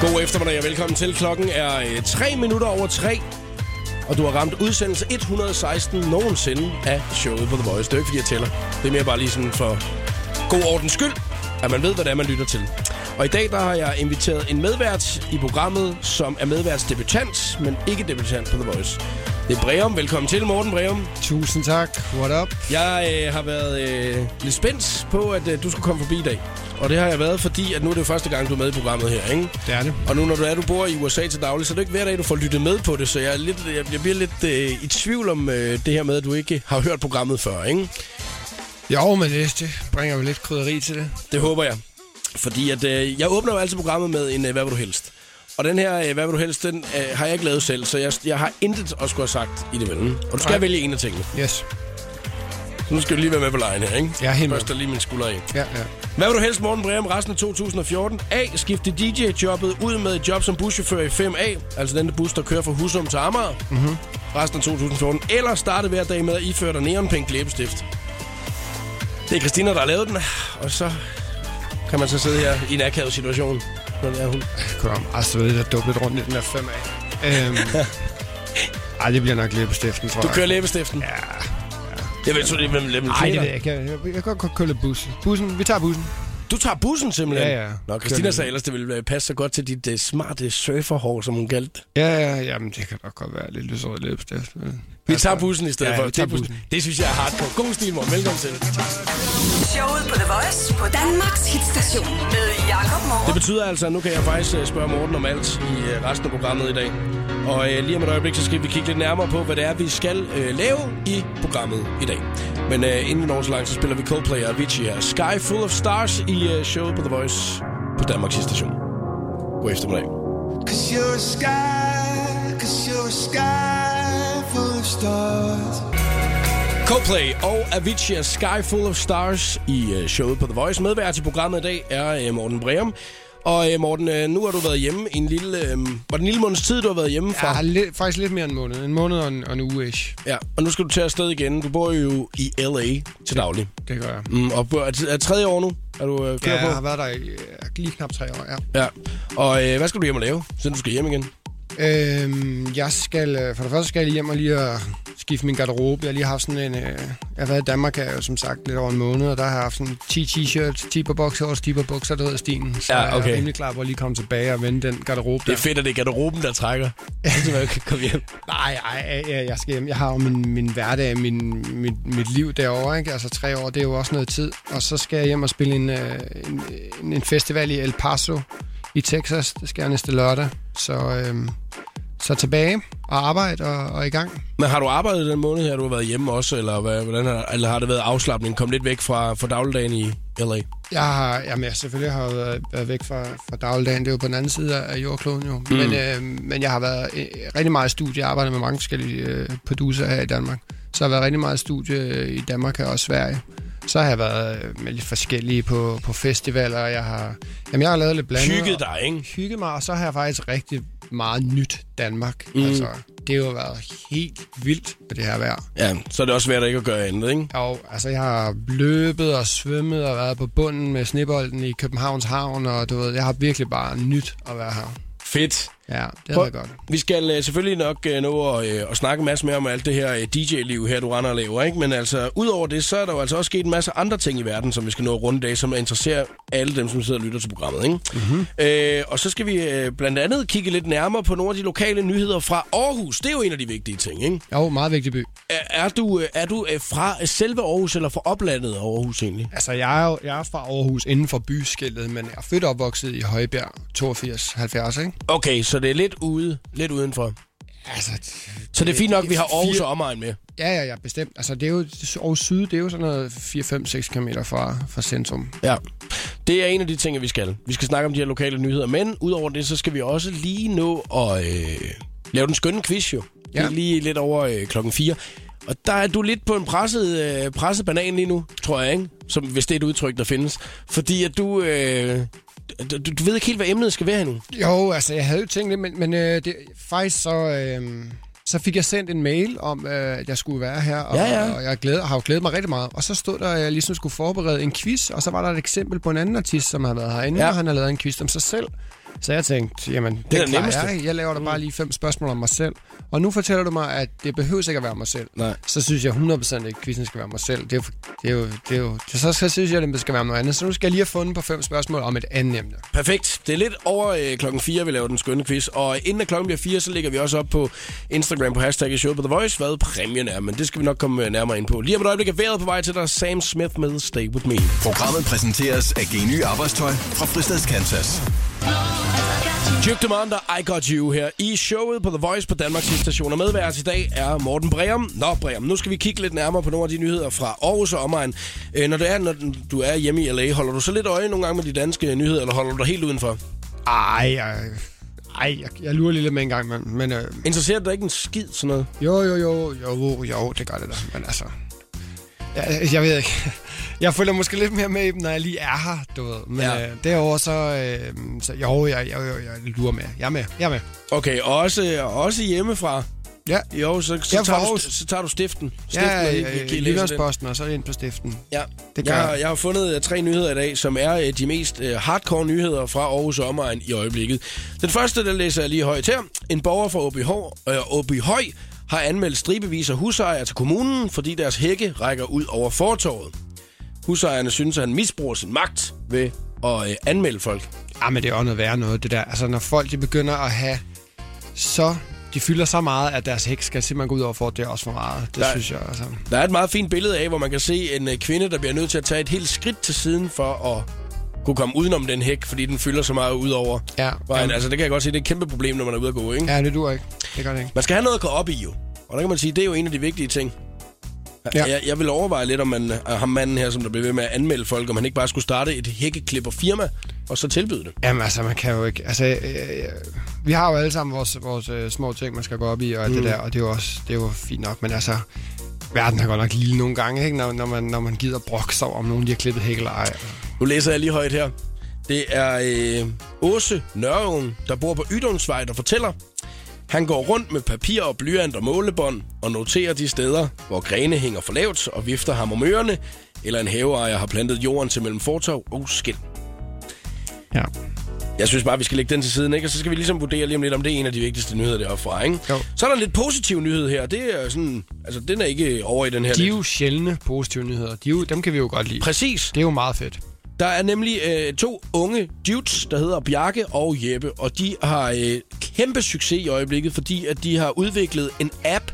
God eftermiddag og velkommen til. Klokken er øh, 3 minutter over 3. Og du har ramt udsendelse 116 nogensinde af showet på The Voice. Det er jo ikke, fordi jeg tæller. Det er mere bare lige sådan for god ordens skyld, at man ved, hvad det er, man lytter til. Og i dag der har jeg inviteret en medvært i programmet, som er medværtsdebutant, men ikke debutant på The Voice. Det er Breum. Velkommen til, Morten Breum. Tusind tak. What up? Jeg øh, har været øh, lidt spændt på, at øh, du skulle komme forbi i dag. Og det har jeg været, fordi at nu er det jo første gang, du er med i programmet her, ikke? Det er det. Og nu når du er, du bor i USA til daglig, så er det ikke hver dag, du får lyttet med på det. Så jeg, er lidt, jeg, jeg bliver lidt øh, i tvivl om øh, det her med, at du ikke har hørt programmet før, ikke? Jo, men det, det bringer jo lidt krydderi til det. Det håber jeg. Fordi at, øh, jeg åbner jo altid programmet med en øh, hvad vil du helst. Og den her, øh, hvad vil du helst, den øh, har jeg ikke lavet selv, så jeg, jeg har intet at skulle have sagt i det mellem. Og du skal Nej. vælge en af tingene. Yes. Så nu skal du lige være med på lejen her, ikke? Ja, helt med. Først er lige min skulder af. Ja, ja. Hvad vil du helst, Morten Breum, resten af 2014? A. Skifte DJ-jobbet ud med et job som buschauffør i 5A, altså den der bus, der kører fra Husum til Amager, Mhm. mm-hmm. resten af 2014. Eller starte hver dag med at iføre dig neonpink læbestift. Det er Christina, der har lavet den, og så kan man så sidde her i en akavet situation. Når det er hun. Kom, altså ved jeg, dubbet rundt i den her 5 af. Øhm, ej, det bliver nok læbestiften, tror Du jeg. kører læbestiften. Ja. Jeg ved sgu ikke, hvem hvem Nej, det Christina- ved jeg ikke. Jeg, jeg kan godt- godt køre lidt bussen. Bussen, vi tager bussen. Du tager bussen simpelthen? Ja, ja. Nå, Kører Christina lidt. sagde ellers, det ville øh, passe så godt til dit uh, smarte surferhår, som hun kaldte det. Ja, ja, jamen det kan nok godt være lidt lysere læbestift. men- Vi tager bussen i stedet Altså. Ja, for. vi tager Det er- bussen. Det synes jeg er hardcore. God stil, Morten. Velkommen til. Showet på The Voice på Danmarks hitstation med Jakob Det Morup. betyder altså, at nu kan jeg faktisk øh, spørge Morten om alt i øh, resten af programmet i dag. Og øh, lige om et øjeblik, så skal vi kigge lidt nærmere på, hvad det er, vi skal øh, lave i programmet i dag. Men øh, inden vi når så langt, så spiller vi Coldplay og Avicii her. Sky Full of Stars i øh, showet på The Voice på Danmarks station. God eftermiddag. Cause you're a sky, cause you're a sky full of stars. Coldplay og Avicii og Sky Full of Stars i øh, showet på The Voice. Medvært i programmet i dag er øh, Morten Breum. Og øh, Morten, øh, nu har du været hjemme en lille... Øh, var det en lille måneds tid, du har været hjemme fra? Ja, lidt, faktisk lidt mere end en måned. En måned og en, og en uge -ish. Ja, og nu skal du til afsted igen. Du bor jo i LA til daglig. Det gør jeg. Mm, og bor- er, det- er det tredje år nu, er du øh, kører Ja, jeg har på? været der i, øh, lige knap tre år, ja. Ja. Og øh, hvad skal du hjem og lave, siden du skal hjem igen? Øhm, jeg skal, øh, for det første skal jeg lige hjem og lige at skifte min garderobe. Jeg har lige haft sådan en, øh, jeg har været i Danmark her jo som sagt lidt over en måned, og der har jeg haft sådan 10 t-shirts, 10 på bokser og 10 på bukser, der hedder Stien. Så Ja, jeg okay. er rimelig klar på at lige komme tilbage og vende den garderobe Det der. er fedt, at det er garderoben, der trækker. Så man kan komme hjem. Nej, nej, jeg, jeg skal hjem. Jeg har jo min, min hverdag, min, min, mit liv derovre, ikke? Altså tre år, det er jo også noget tid. Og så skal jeg hjem og spille en, øh, en, en, en festival i El Paso i Texas. Det skal jeg næste lørdag. Så, øh, så tilbage og arbejde og, og i gang. Men har du arbejdet den måned her, du har været hjemme også, eller, hvad, hvordan har, eller har det været afslappning? Kom lidt væk fra, fra dagligdagen i LA? Jeg har, jamen, jeg selvfølgelig har jo været, været væk fra, fra dagligdagen. Det er jo på den anden side af af jordkloden jo. Mm. Men, øh, men jeg har været øh, rigtig meget i studie. Jeg arbejder med mange forskellige øh, producer her i Danmark. Så har jeg været rigtig meget i studie øh, i Danmark her og Sverige. Så har jeg været øh, med lidt forskellige på, på festivaler. og Jeg har, jamen, jeg har lavet lidt blandet. Hygget dig, ikke? Hygget mig, og så har jeg faktisk rigtig meget nyt Danmark. Mm. Altså, det har jo været helt vildt med det her vejr. Ja, så er det også svært ikke at gøre andet, ikke? Jo, altså jeg har løbet og svømmet og været på bunden med snebolden i Københavns Havn, og du ved, jeg har virkelig bare nyt at være her. Fedt. Ja, det har Prøv- været godt. Vi skal øh, selvfølgelig nok øh, nå at, øh, at snakke en masse mere om alt det her øh, DJ-liv her, du render og laver, ikke? Men altså, udover det, så er der jo altså også sket en masse andre ting i verden, som vi skal nå at runde i dag, som interesserer alle dem, som sidder og lytter til programmet, ikke? Mm-hmm. Øh, og så skal vi øh, blandt andet kigge lidt nærmere på nogle af de lokale nyheder fra Aarhus. Det er jo en af de vigtige ting, ikke? Jo, meget vigtig by. Er, er du, øh, er du øh, fra øh, selve Aarhus, eller fra oplandet af Aarhus egentlig? Altså, jeg er, jo, jeg er fra Aarhus inden for byskiltet, men jeg er født og opvokset i Højbjerg 82-70, ikke? Okay, så det er lidt ude, lidt udenfor. Altså, Så Øh, det er fint nok, at vi har fire- Aarhus og omegn med. ja, ja, ja, bestemt. Altså, det er jo, Aarhus Syd, det er jo sådan noget 4-5-6 km fra, fra centrum. Ja, det er en af de ting, vi skal. Vi skal snakke om de her lokale nyheder, men udover det, så skal vi også lige nå at øh, lave den skønne quiz jo. Ja. Det Ja. er lige lidt over øh, klokken 4. Og der er du lidt på en presset, øh, presset banan lige nu, tror jeg, ikke? Som, hvis det er et udtryk, der findes. Fordi at du, øh, du, du ved ikke helt, hvad emnet skal være endnu. Jo, altså jeg havde jo tænkt det, men, men øh, det, faktisk så, øh, så fik jeg sendt en mail om, øh, at jeg skulle være her, og, Ja, ja. og jeg glæder, har jo glædet mig rigtig meget. Og så stod der, at jeg ligesom skulle forberede en quiz, og så var der et eksempel på en anden artist, som har været herinde, Ja. ja. og han har lavet en quiz om sig selv. Så jeg tænkte, jamen, er det, det det klarer nemmeste. Mm. jeg. ikke. Jeg laver da bare lige fem spørgsmål om mig selv. Og nu fortæller du mig, at det behøver ikke at være mig selv. Nej. Så synes jeg 100% ikke, at quizzen skal være mig selv. Det er jo, det er jo, det er jo det, så, så synes jeg, at den skal være noget andet. Så nu skal jeg lige have fundet på fem spørgsmål om et andet emne. Perfekt. Det er lidt over øh, klokken 4, vi laver den skønne quiz. Og inden at klokken bliver 4, så lægger vi også op på Instagram på hashtagget show på The Voice, hvad præmien er. Men det skal vi nok komme øh, nærmere ind på. Lige om et øjeblik er vejret på vej til dig. Sam Smith med Stay With Me. Programmet præsenteres af Geny Arbejdstøj fra Fristads Kansas. Duke Demander, I Got You her i showet på The Voice på Danmarks station. Og medvært i dag er Morten Breum. Nå, Breum, nu skal vi kigge lidt nærmere på nogle af de nyheder fra Aarhus og omegn. Øh, når, det er, når du er hjemme i LA, holder du så lidt øje nogle gange med de danske nyheder, eller holder du dig helt udenfor? Ej, ej, ej jeg, jeg lurer lige lidt med en gang, men, men øh, Interesserer det dig ikke en skid sådan noget? jo, jo, jo, jo, jo, det gør det da. Men altså, jeg, jeg ved ikke. Jeg følger måske lidt mere med i dem, når jeg lige er her, du ved. Men Ja. ja. øh, derovre så, øh, så jo, jeg, jo, jo, jeg lurer med. Jeg er med, jeg er med. Okay, og også, og også hjemmefra. Ja, Jo, så, så, Jeg er fra tager, du, Aarhus. st- så tager du stiften. Stiften ja, og øh, lige- lige- øh, lige læser den. Jyllandsposten, og så er det ind på stiften. Ja, Det det gør jeg, jeg. jeg har fundet øh, tre nyheder i dag, som er øh, de mest øh, hardcore nyheder fra Aarhus og omegn i øjeblikket. Den første, der læser jeg lige højt her. En borger fra OBH, øh, Åbyhøj har anmeldt stribevis af husejere til kommunen, fordi deres hække rækker ud over fortorvet. Husejerne synes, at han misbruger sin magt ved at øh, anmelde folk. Ja, Ah, men det er også noget værre noget, det der. Altså, når folk de begynder at have så... De fylder så meget, at deres hæk skal simpelthen gå ud over for, det er også for meget. Det Nej. Nej. synes jeg altså. Der er et meget fint billede af, hvor man kan se en øh, kvinde, der bliver nødt til at tage et helt skridt til siden for at kunne komme udenom den hæk, fordi den fylder så meget ud over. Ja. Vejen. Ja. Altså, det kan jeg godt se, det er et kæmpe problem, når man er ude at gå, ikke? Ja, det dur ikke. Det gør det ikke. Man skal have noget at gå op i, jo. Og der kan man sige, det er jo en af de vigtige ting. Ja. Ja. Jeg, jeg vil overveje lidt, om man, øh, ham manden her, som der blev ved med at anmelde folk, om han ikke bare skulle starte et hækkeklipperfirma, og så tilbyde det. Jamen altså, man kan jo ikke... Altså, øh, vi har jo alle sammen vores, vores øh, små ting, man skal gå op i, og mm. det der, og det er jo også det er jo fint nok, men altså... Verden har godt nok lille nogle gange, ikke? Når, når, man, når man gider brokke sig over, om nogen de har klippet hæk eller ej. Nu læser jeg lige højt her. Det er øh, Åse Nørreung, der bor på Ydumsvej, der fortæller, han går rundt med papir og blyant og målebånd og noterer de steder, hvor grene hænger for lavt og vifter ham om ørerne, eller en haveejer har plantet jorden til mellem fortov og skilt. Ja. Jeg synes bare, vi skal lægge den til siden, ikke? Og så skal vi ligesom vurdere lige om lidt, om det er en af de vigtigste nyheder deroppe fra, ikke? Jo. Så er der en lidt positiv nyhed her. Det er sådan... Altså, den er ikke over i den her... De er lidt- jo sjældne positive nyheder. De er jo, dem kan vi jo godt lide. Præcis. Det er jo meget fedt. Der er nemlig øh, to unge dudes, der hedder Bjarke og Jeppe, og de har øh, kæmpe succes i øjeblikket, fordi at de har udviklet en app,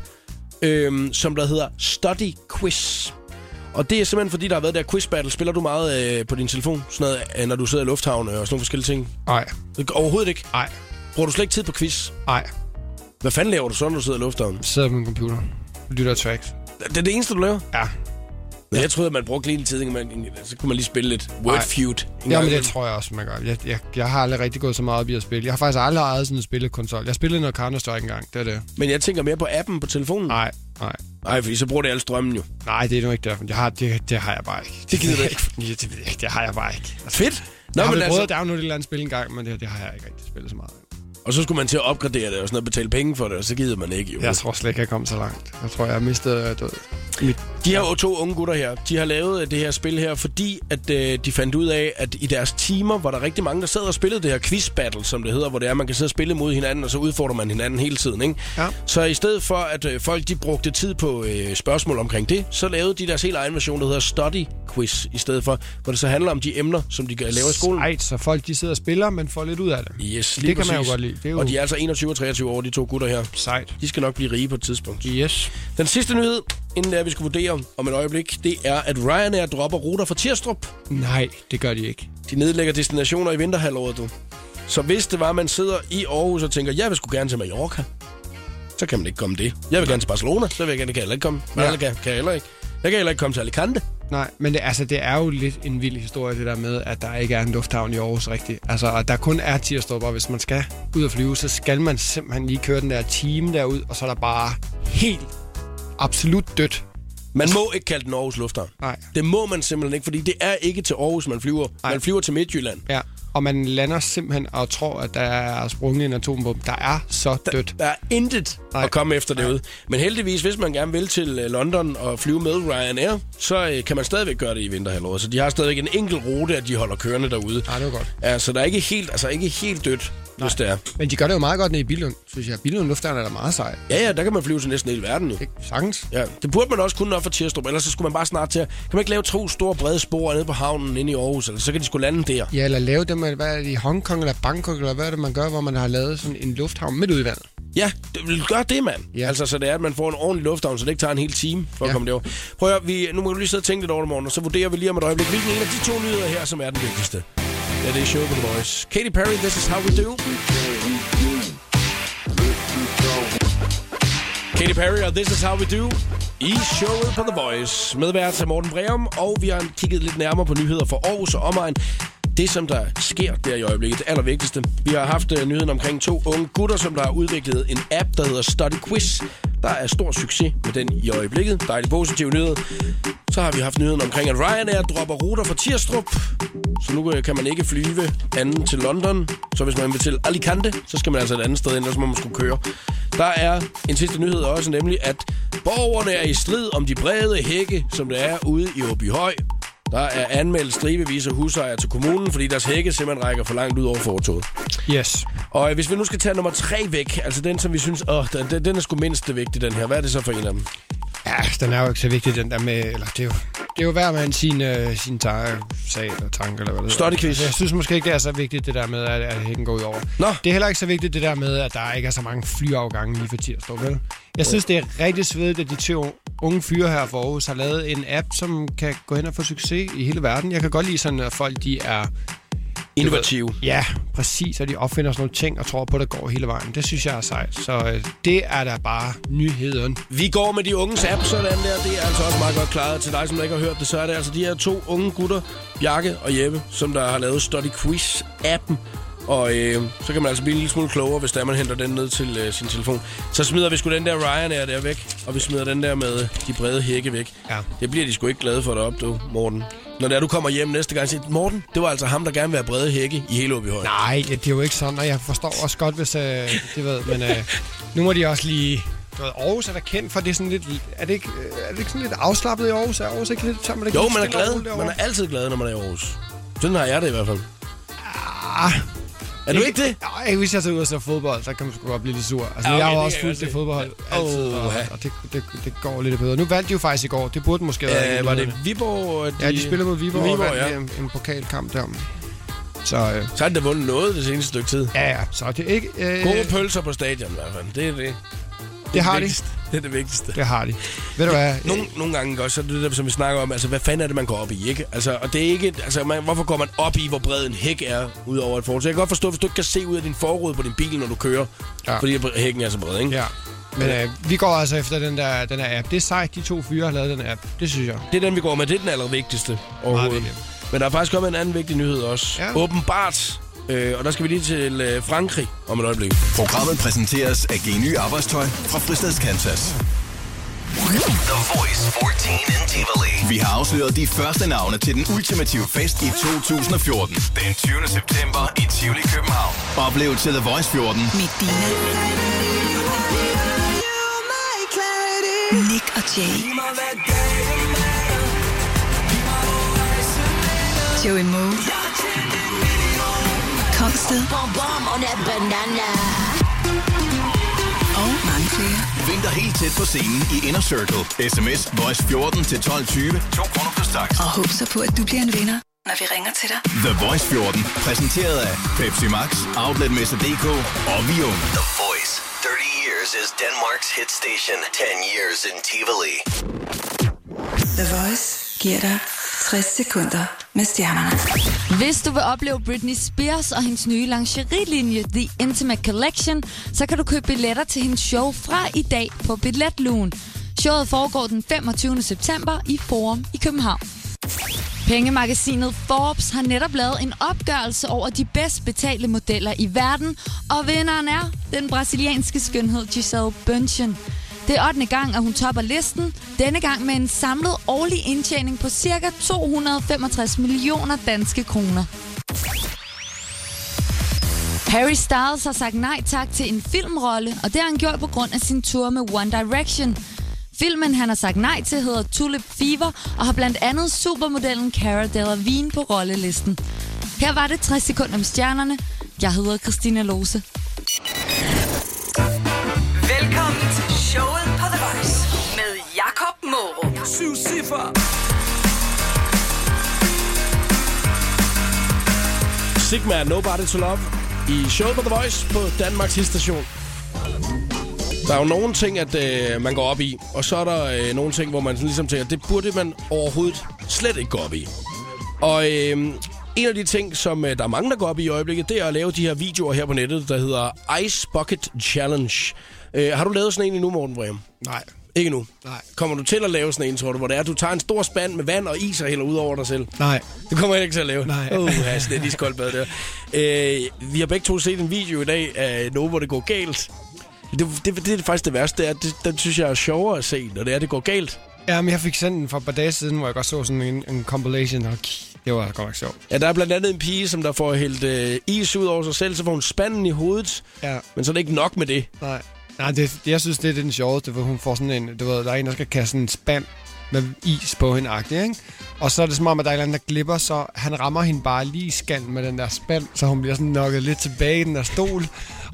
øh, som der hedder Study Quiz. Og det er simpelthen fordi, der har været der quiz battle. Spiller du meget øh, på din telefon, sådan noget, øh, når du sidder i lufthavnen og sådan nogle forskellige ting? Øh, Ej, Overhovedet ikke. ej, Bruger du slet ikke tid på quiz? ej. Hvad fanden laver du så, når du sidder i lufthavnen? sidder på min computer, lytter tracks. Det er det eneste, du laver? Ja, Ja. Jeg troede, at man brugte lige en tid, ikke? man, så kunne man lige spille lidt Word Nej. Feud. en gang Jamen, det imellem. tror jeg også, man gør. Jeg, jeg, jeg har aldrig rigtig gået så meget op i at spille. Jeg har faktisk aldrig ejet sådan en spillekonsol. Jeg spillede noget Counter-Strike engang, det er det. Men jeg tænker mere på appen på telefonen. Nej, Nej, nej. fordi så bruger det al strømmen jo. Nej, det er nu ikke derfor. Jeg har, det, det har jeg bare ikke. Det gider du ikke. Ja, det ved jeg ikke. Det har jeg bare ikke. Altså, Fedt! Nå, Nå, jeg har men vel prøvet at altså, Mm. downloade et eller andet spil engang, men det, det har jeg ikke rigtig spillet så meget. og så skulle man til at opgradere det og sådan noget, betale penge for det, og så gider man ikke. Jo. Jeg tror slet ikke, jeg kom så langt. Jeg tror, jeg har mistet øh, du ved, mit... De her jo to unge gutter her, de har lavet øh, det her spil her, fordi at øh, de fandt ud af, at i deres timer var der rigtig mange, der sad og spillede det her quiz battle, som det hedder, hvor det er, man kan sidde og spille mod hinanden, og så udfordrer man hinanden hele tiden. Ikke? Ja. Så i stedet for, at øh, folk de brugte tid på øh, spørgsmål omkring det, så lavede de deres helt egen version, der hedder Study Quiz, i stedet for, hvor det så handler om de emner, som de laver i skolen. Sejt, så folk de sidder og spiller, men får lidt ud af det. Yes, lige det kan præcis. man jo godt lide. Det er jo Og de er altså 21 og 23 år, de to gutter her. sejt. De skal nok blive rige på et tidspunkt. Yes. Den sidste nyhed, inden det er, vi skal vurdere om et øjeblik, det er, at Ryanair dropper ruter fra Tirstrup. Nej, det gør de ikke. De nedlægger destinationer i vinterhalvåret, du. Så hvis det var, at man sidder i Aarhus og tænker, jeg vil sgu gerne til Mallorca, så kan man ikke komme det. Jeg vil gerne til Barcelona, så vil jeg gerne, kan jeg heller ikke komme. Malaga kan jeg heller ikke. Jeg kan heller ikke komme til Alicante. Nej, men det, altså, det er jo lidt en vild historie, det der med, at der ikke er en lufthavn i Aarhus rigtigt. Altså, og der kun er Tirstrup, og hvis man skal ud og flyve, så skal man simpelthen lige køre den der time derud, og så er der bare helt absolut dødt. Man må ikke kalde den Aarhus Lufthavn. Nej. Det må man simpelthen ikke, fordi det er ikke til Aarhus, man flyver. Nej. Man flyver til Midtjylland. Ja. og man lander simpelthen og tror, at der er sprunget en atombombe. Der er så dødt. Der er intet Nej. Nej. at komme efter derude. Men heldigvis, hvis man gerne vil til øh, London og flyve med Ryanair, så øh, kan man stadigvæk gøre det i vinterhalvåret. Så de har stadigvæk en enkelt rute, at de holder kørende derude. Ej, det var godt. Ja, så der er ikke helt, altså ikke helt dødt, Nej. hvis det er. Men de gør det jo meget godt nede i Billund, synes jeg. Billund Lufthavn er da meget sej. Ja, ja, der kan man flyve til næsten hele verden nu. Ikke? Sagtens. Ja, det burde man også kunne op for Tirstrup, ellers så skulle man bare snart til at... Kan man ikke lave to store brede spor nede på havnen inde i Aarhus, eller så kan de skulle lande der. Ja, eller lave det med, hvad er det, i Hongkong eller Bangkok, eller hvad er det, man gør, hvor man har lavet sådan en lufthavn midt ude i vandet. Ja, det vil gøre det, mand. Ja. Ja. Altså, så det er, at man får en ordentlig lufthavn, så det ikke tager en hel time for ja. at Ja. komme derover. Prøv at høre, vi, nu må du lige sidde og tænke lidt over det morgen, og så vurderer vi lige om et øjeblik, hvilken en af de to nyheder her, som er den vigtigste. Ja, det er Show på The Voice. Katy Perry, This Is How We Do. Katy Perry og This Is How We Do i showet på The Voice. Medvært er Morten Breum, og vi har kigget lidt nærmere på nyheder for Aarhus og omegn. Det, som der sker der i øjeblikket, det allervigtigste. Vi har haft øh, nyheden omkring to unge gutter, som der har udviklet en app, der hedder Study Quiz. Der er stor succes med den i øjeblikket. Dejlig positiv nyhed. Så har vi haft nyheden omkring, at Ryanair dropper ruter fra Tirstrup. Så nu øh, kan man ikke flyve anden til London. Så hvis man vil til Alicante, så skal man altså et andet sted ind, ellers må man skulle køre. Der er en sidste nyhed også, nemlig at borgerne er i strid om de brede hække, som der er ude i Åbyhøj. Der er anmeldt stribevis af husejere til kommunen, fordi deres hække simpelthen rækker for langt ud over fortoget. Yes. Og øh, hvis vi nu skal tage nummer tre væk, altså den, som vi synes, åh, den- den, den er sgu mindst vigtig, den her. Hvad er det så for en af dem? Ja, altså, den er jo ikke så vigtig, den der med, eller det er jo, det er jo hver man sin, øh, sin tar, sag eller tanke, eller hvad det hedder. Stottequiz. Altså, Jeg synes måske ikke, det er så vigtigt, det der med, at, at hækken går ud over. Nå. Det er heller ikke så vigtigt, det der med, at der ikke er så mange flyafgange lige for tirsdag, vel? Jeg synes, det er rigtig svedigt, at de to unge fyre her for Aarhus har lavet en app, som kan gå hen og få succes i hele verden. Jeg kan godt lide sådan, at folk de er Innovativ. Ja, præcis, og de opfinder sådan nogle ting og tror på, at det går hele vejen. Det synes jeg er sejt. Så øh, det er da bare nyheden. Vi går med de unges app, sådan der. Det er altså også meget godt klaret. Til dig, som ikke har hørt det, så er det altså de her to unge gutter, Bjarke og Jeppe, som der har lavet Study Quiz-appen. Og øh, så kan man altså blive en lille smule klogere, hvis der man henter den ned til øh, sin telefon. Så smider vi sgu den der Ryanair der væk, og vi smider den der med øh, de brede hække væk. Ja. Det bliver de sgu ikke glade for dig op, du, Morten. Når det er, du kommer hjem næste gang, så siger de, Morten, det var altså ham, der gerne vil have brede hække i hele Åbyhøj. Nej, det er jo ikke sådan, og jeg forstår også godt, hvis... Øh, det ved, men øh, nu må de også lige... Du ved, Aarhus er da kendt for, det er sådan lidt... Er det ikke, øh, er det ikke sådan lidt afslappet i Aarhus? Er Aarhus ikke lidt... Tager man det ikke Jo, lidt man er stille og roligt glad. Man derovre? er altid glad, når man er i Aarhus. Sådan har jeg det i hvert fald. Ah, Er du ikke det? Nej, hvis jeg tager ud og ser fodbold, så kan man sgu godt blive lidt sur. Altså, Ja, okay, jeg har det jo kan også jeg fulgt godt det se. fodbold Ja. altid, og, Åh, ja. og det, det, det, går lidt bedre. Nu vandt de jo faktisk i går. Det burde måske have været... Øh, en var nyhed. det Viborg? øh, Ja, de spiller mod Viborg, Viborg, Viborg og vandt ja. ja. en, en pokalkamp derom. Så øh, Så har de da vundet noget det seneste stykke tid. ja, ja, så det er ikke... Øh, Gode pølser på stadion i hvert fald. Det er det. Det, er det har de. vigtigste. Det er det vigtigste. Det har de. Ved du hvad? Nogle, nogle gange også, så er det der, som vi snakker om, altså hvad fanden er det, man går op i, ikke? Altså, og det er ikke, altså man, hvorfor går man op i, hvor bred en hæk er, udover et forhold? Så jeg kan godt forstå, hvis du ikke kan se ud af din forrude på din bil, når du kører, ja. Ja. fordi hækken er så bred, ikke? Ja. Men øh, vi går altså efter den der, den der app. Det er sejt, de to fyre har lavet den app. Det synes jeg. Det er den, vi går med. Det er den allervigtigste overhovedet. vigtigt. Men der er faktisk kommet en anden vigtig nyhed også. Ja. Åbenbart. Øh, og der skal vi lige til øh, Frankrig om et øjeblik. Programmet præsenteres af Geny Arbejdstøj fra Fristads Kansas. The Voice 14 in Tivoli. Vi har afsløret de første navne til den ultimative fest i 2014. Den 20. september i Tivoli, København. Oplev til The Voice 14 Medina. Nick og Jay. Joey Moe. Kongsted. Og mange flere. Vent dig helt tæt på scenen i Inner Circle. SMS Voice 14 til 12.20. 2 kroner plus tax. Og håb så på, at du bliver en vinder, når vi ringer til dig. The Voice 14. Præsenteret af Pepsi Max, Outletmesse.dk og Vium. The Voice. 30 years as Denmark's hit station. 10 years in Tivoli. The Voice giver dig 60 sekunder med stjernerne. Hvis du vil opleve Britney Spears og hendes nye lingerie-linje, The Intimate Collection, så kan du købe billetter til hendes show fra i dag på Billetlugen. Showet foregår den 25. september i Forum i København. Pengemagasinet Forbes har netop lavet en opgørelse over de bedst betalte modeller i verden, og vinderen er den brasilianske skønhed Giselle Bündchen. Det er 8. gang, at hun topper listen, denne gang med en samlet årlig indtjening på ca. 265 millioner danske kroner. Harry Styles har sagt nej tak til en filmrolle, og det har han gjort på grund af sin tur med One Direction. Filmen, han har sagt nej til, hedder Tulip Fever, og har blandt andet supermodellen Cara Delevingne på rollelisten. Her var det 60 sekunder om stjernerne. Jeg hedder Christina Lose. Velkommen til showet på The Voice med Jakob Morup. Syv cifre. Sigma er Nobody to Love i showet på The Voice på Danmarks station. Der er jo nogle ting, at øh, man går op i, og så er der øh, nogle ting, hvor man sådan ligesom tænker, det burde man overhovedet slet ikke gå op i. Og øh, en af de ting, som øh, der er mange, der går op i i øjeblikket, det er at lave de her videoer her på nettet, der hedder Ice Bucket Challenge. Øh, har du lavet sådan en endnu, Morten Breum? Nej. Ikke nu. Nej. Kommer du til at lave sådan en, tror du, hvor det er, du tager en stor spand med vand og is og hælder ud over dig selv? Nej. Det kommer jeg ikke til at lave. Nej. Uh, ja, sådan et iskoldt bad der. Øh, vi har begge to set en video i dag af noget, hvor det går galt. Det, det, det er faktisk det værste, det er, det, den synes jeg er sjovere at se, når det er, det går galt. Jamen, jeg fik sendt den for et par dage siden, hvor jeg godt så sådan en, en compilation, og k- det var godt nok sjovt. Ja, der er blandt andet en pige, som der får hældt øh, is ud over sig selv, så får hun spanden i hovedet. Ja. Men så er det ikke nok med det. Nej. Nej, det, jeg synes, det er den sjoveste, for hun får sådan en, du ved, der er en, der skal kaste sådan en spand med is på hende, agtig, ikke? Og så er det som om, at der er en eller anden, der glipper, så han rammer hende bare lige i skallen med den der spand, så hun bliver sådan nokket lidt tilbage i den der stol,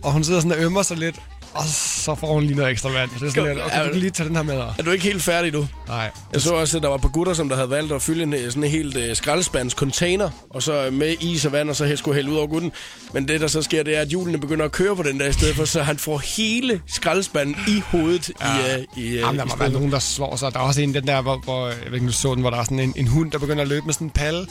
og hun sidder sådan og ømmer sig lidt, og så får hun lige noget ekstra vand. Det er sådan, lidt, okay, du kan lige tage den her med dig. Er du ikke helt færdig nu? Nej. Jeg så også, at der var på gutter, som der havde valgt at fylde en, øh, sådan en helt øh, skraldespands container, og så øh, med is og vand, og så he- skulle hælde ud over gutten. Men det, der så sker, det er, at hjulene begynder at køre på den der i stedet for, så han får hele skraldespanden i hovedet ja. i, øh, i, øh, Jamen, der i må være stedet. nogen, der slår sig. Der er også en den der, hvor, hvor jeg ved ikke, om du så den, hvor der er sådan en, en hund, der begynder at løbe med sådan en palle.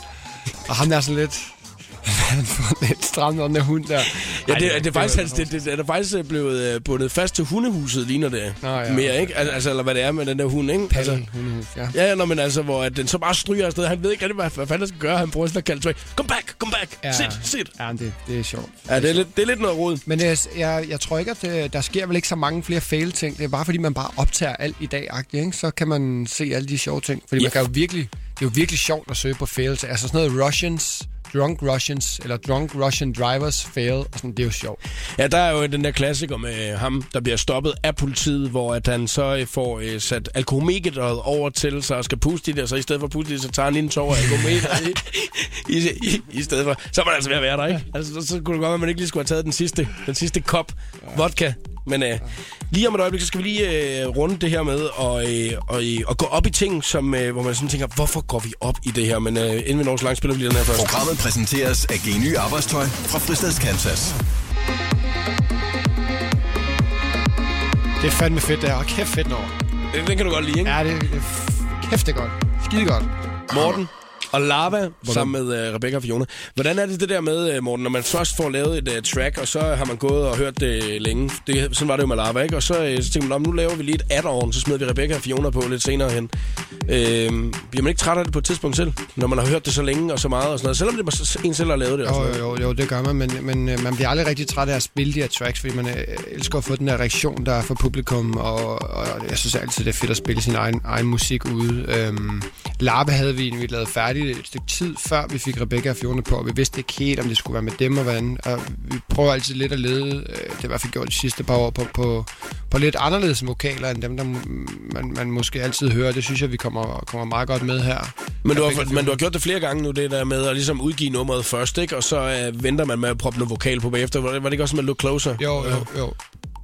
Og ham der er sådan lidt... Han får lidt stramt om den der hund der. Ja, Ej, det, det, det, er faktisk, var- hans, det, det, det er faktisk øh, blevet øh, bundet fast til hundehuset, ligner det Nå, ja. mere, ikke? Al- Altså, eller hvad det er med den der hund, ikke? Palle, Altså, hundehund, ja. Ja, ja, nå, men altså, hvor at den så bare stryger afsted. Han ved ikke rigtig, hvad, hvad fanden han skal gøre. Han prøver sådan at kalde tilbage. Come back, come back, ja. sit, sit. Ja, men det, det er sjovt. Ja, det er lidt, det er lidt noget rod. Men øh, jeg, jeg tror ikke, at øh, der sker vel ikke så mange flere fail-ting. Det er bare, fordi man bare optager alt i dag ikke? Så kan man se alle de sjove ting. Fordi Ja. man kan jo virkelig, det er jo virkelig sjovt at søge på fails. Altså sådan noget Russians, drunk Russians, eller drunk Russian drivers fail. Og sådan, det er jo sjovt. Ja, der er jo den der klassiker med øh, ham, der bliver stoppet af politiet, hvor at han så øh, får øh, sat alkomemeteret over til sig og skal puste i det, og så i stedet for at puste i det, så tager han en tår af alkometeret i, i, i, i, stedet for. Så er man altså ved at være der, ikke? Altså, så, så kunne det godt være, at man ikke lige skulle have taget den sidste, den sidste kop vodka. Men øh, lige om et øjeblik, så skal vi lige øh, runde det her med og, øh, og, øh, og gå op i ting, som, øh, hvor man sådan tænker, hvorfor går vi op i det her? Men øh, inden vi når så langt, spiller vi lige den her først. Programmet præsenteres af Geny Arbejdstøj fra Fristads Kansas. Det er fandme fedt, det her. Og kæft fedt nummer. Den, den kan du godt lide, ikke? Ja, det er f- kæft, det er godt. Skide godt. Morten og Lava sammen med uh, Rebecca og Fiona. Hvordan er det det der med, uh, Morten, når man først får lavet et uh, track, og så har man gået og hørt det længe? Det, sådan var det jo med Lava, ikke? Og så, uh, så tænker man, "Nå, nu laver vi lige et add-on, så smider vi Rebecca og Fiona på lidt senere hen. Uh, bliver man ikke træt af det på et tidspunkt selv, når man har hørt det så længe og så meget og sådan noget? Selvom det var en selv, der har lavet det. Og Jo, sådan jo, jo, jo, det gør man, men, men øh, man bliver aldrig rigtig træt af at spille de her tracks, fordi man øh, elsker at få den der reaktion, der er fra publikum, og, og jeg synes altid, det er fedt at spille sin egen, egen musik ude. Øhm, Larpe havde vi egentlig lavet færdigt et stykke tid, før vi fik Rebecca og Fiona på, og vi vidste ikke helt, om det skulle være med dem og hvordan, og vi prøver altid lidt at lede, øh, det har vi i hvert fald gjort de sidste par år, på, på, på lidt anderledes vokaler, end dem, der m- man, man måske altid hører. Det synes jeg, vi kommer, kommer meget godt med her. Men du, har, Rebecca og men du har gjort det flere gange nu, det der med at ligesom udgive nummeret først, ikke? Og så uh, venter man med at proppe noget vokal på bagefter. Var det, var det ikke også med Look Closer? Jo, jo, Øh, jo.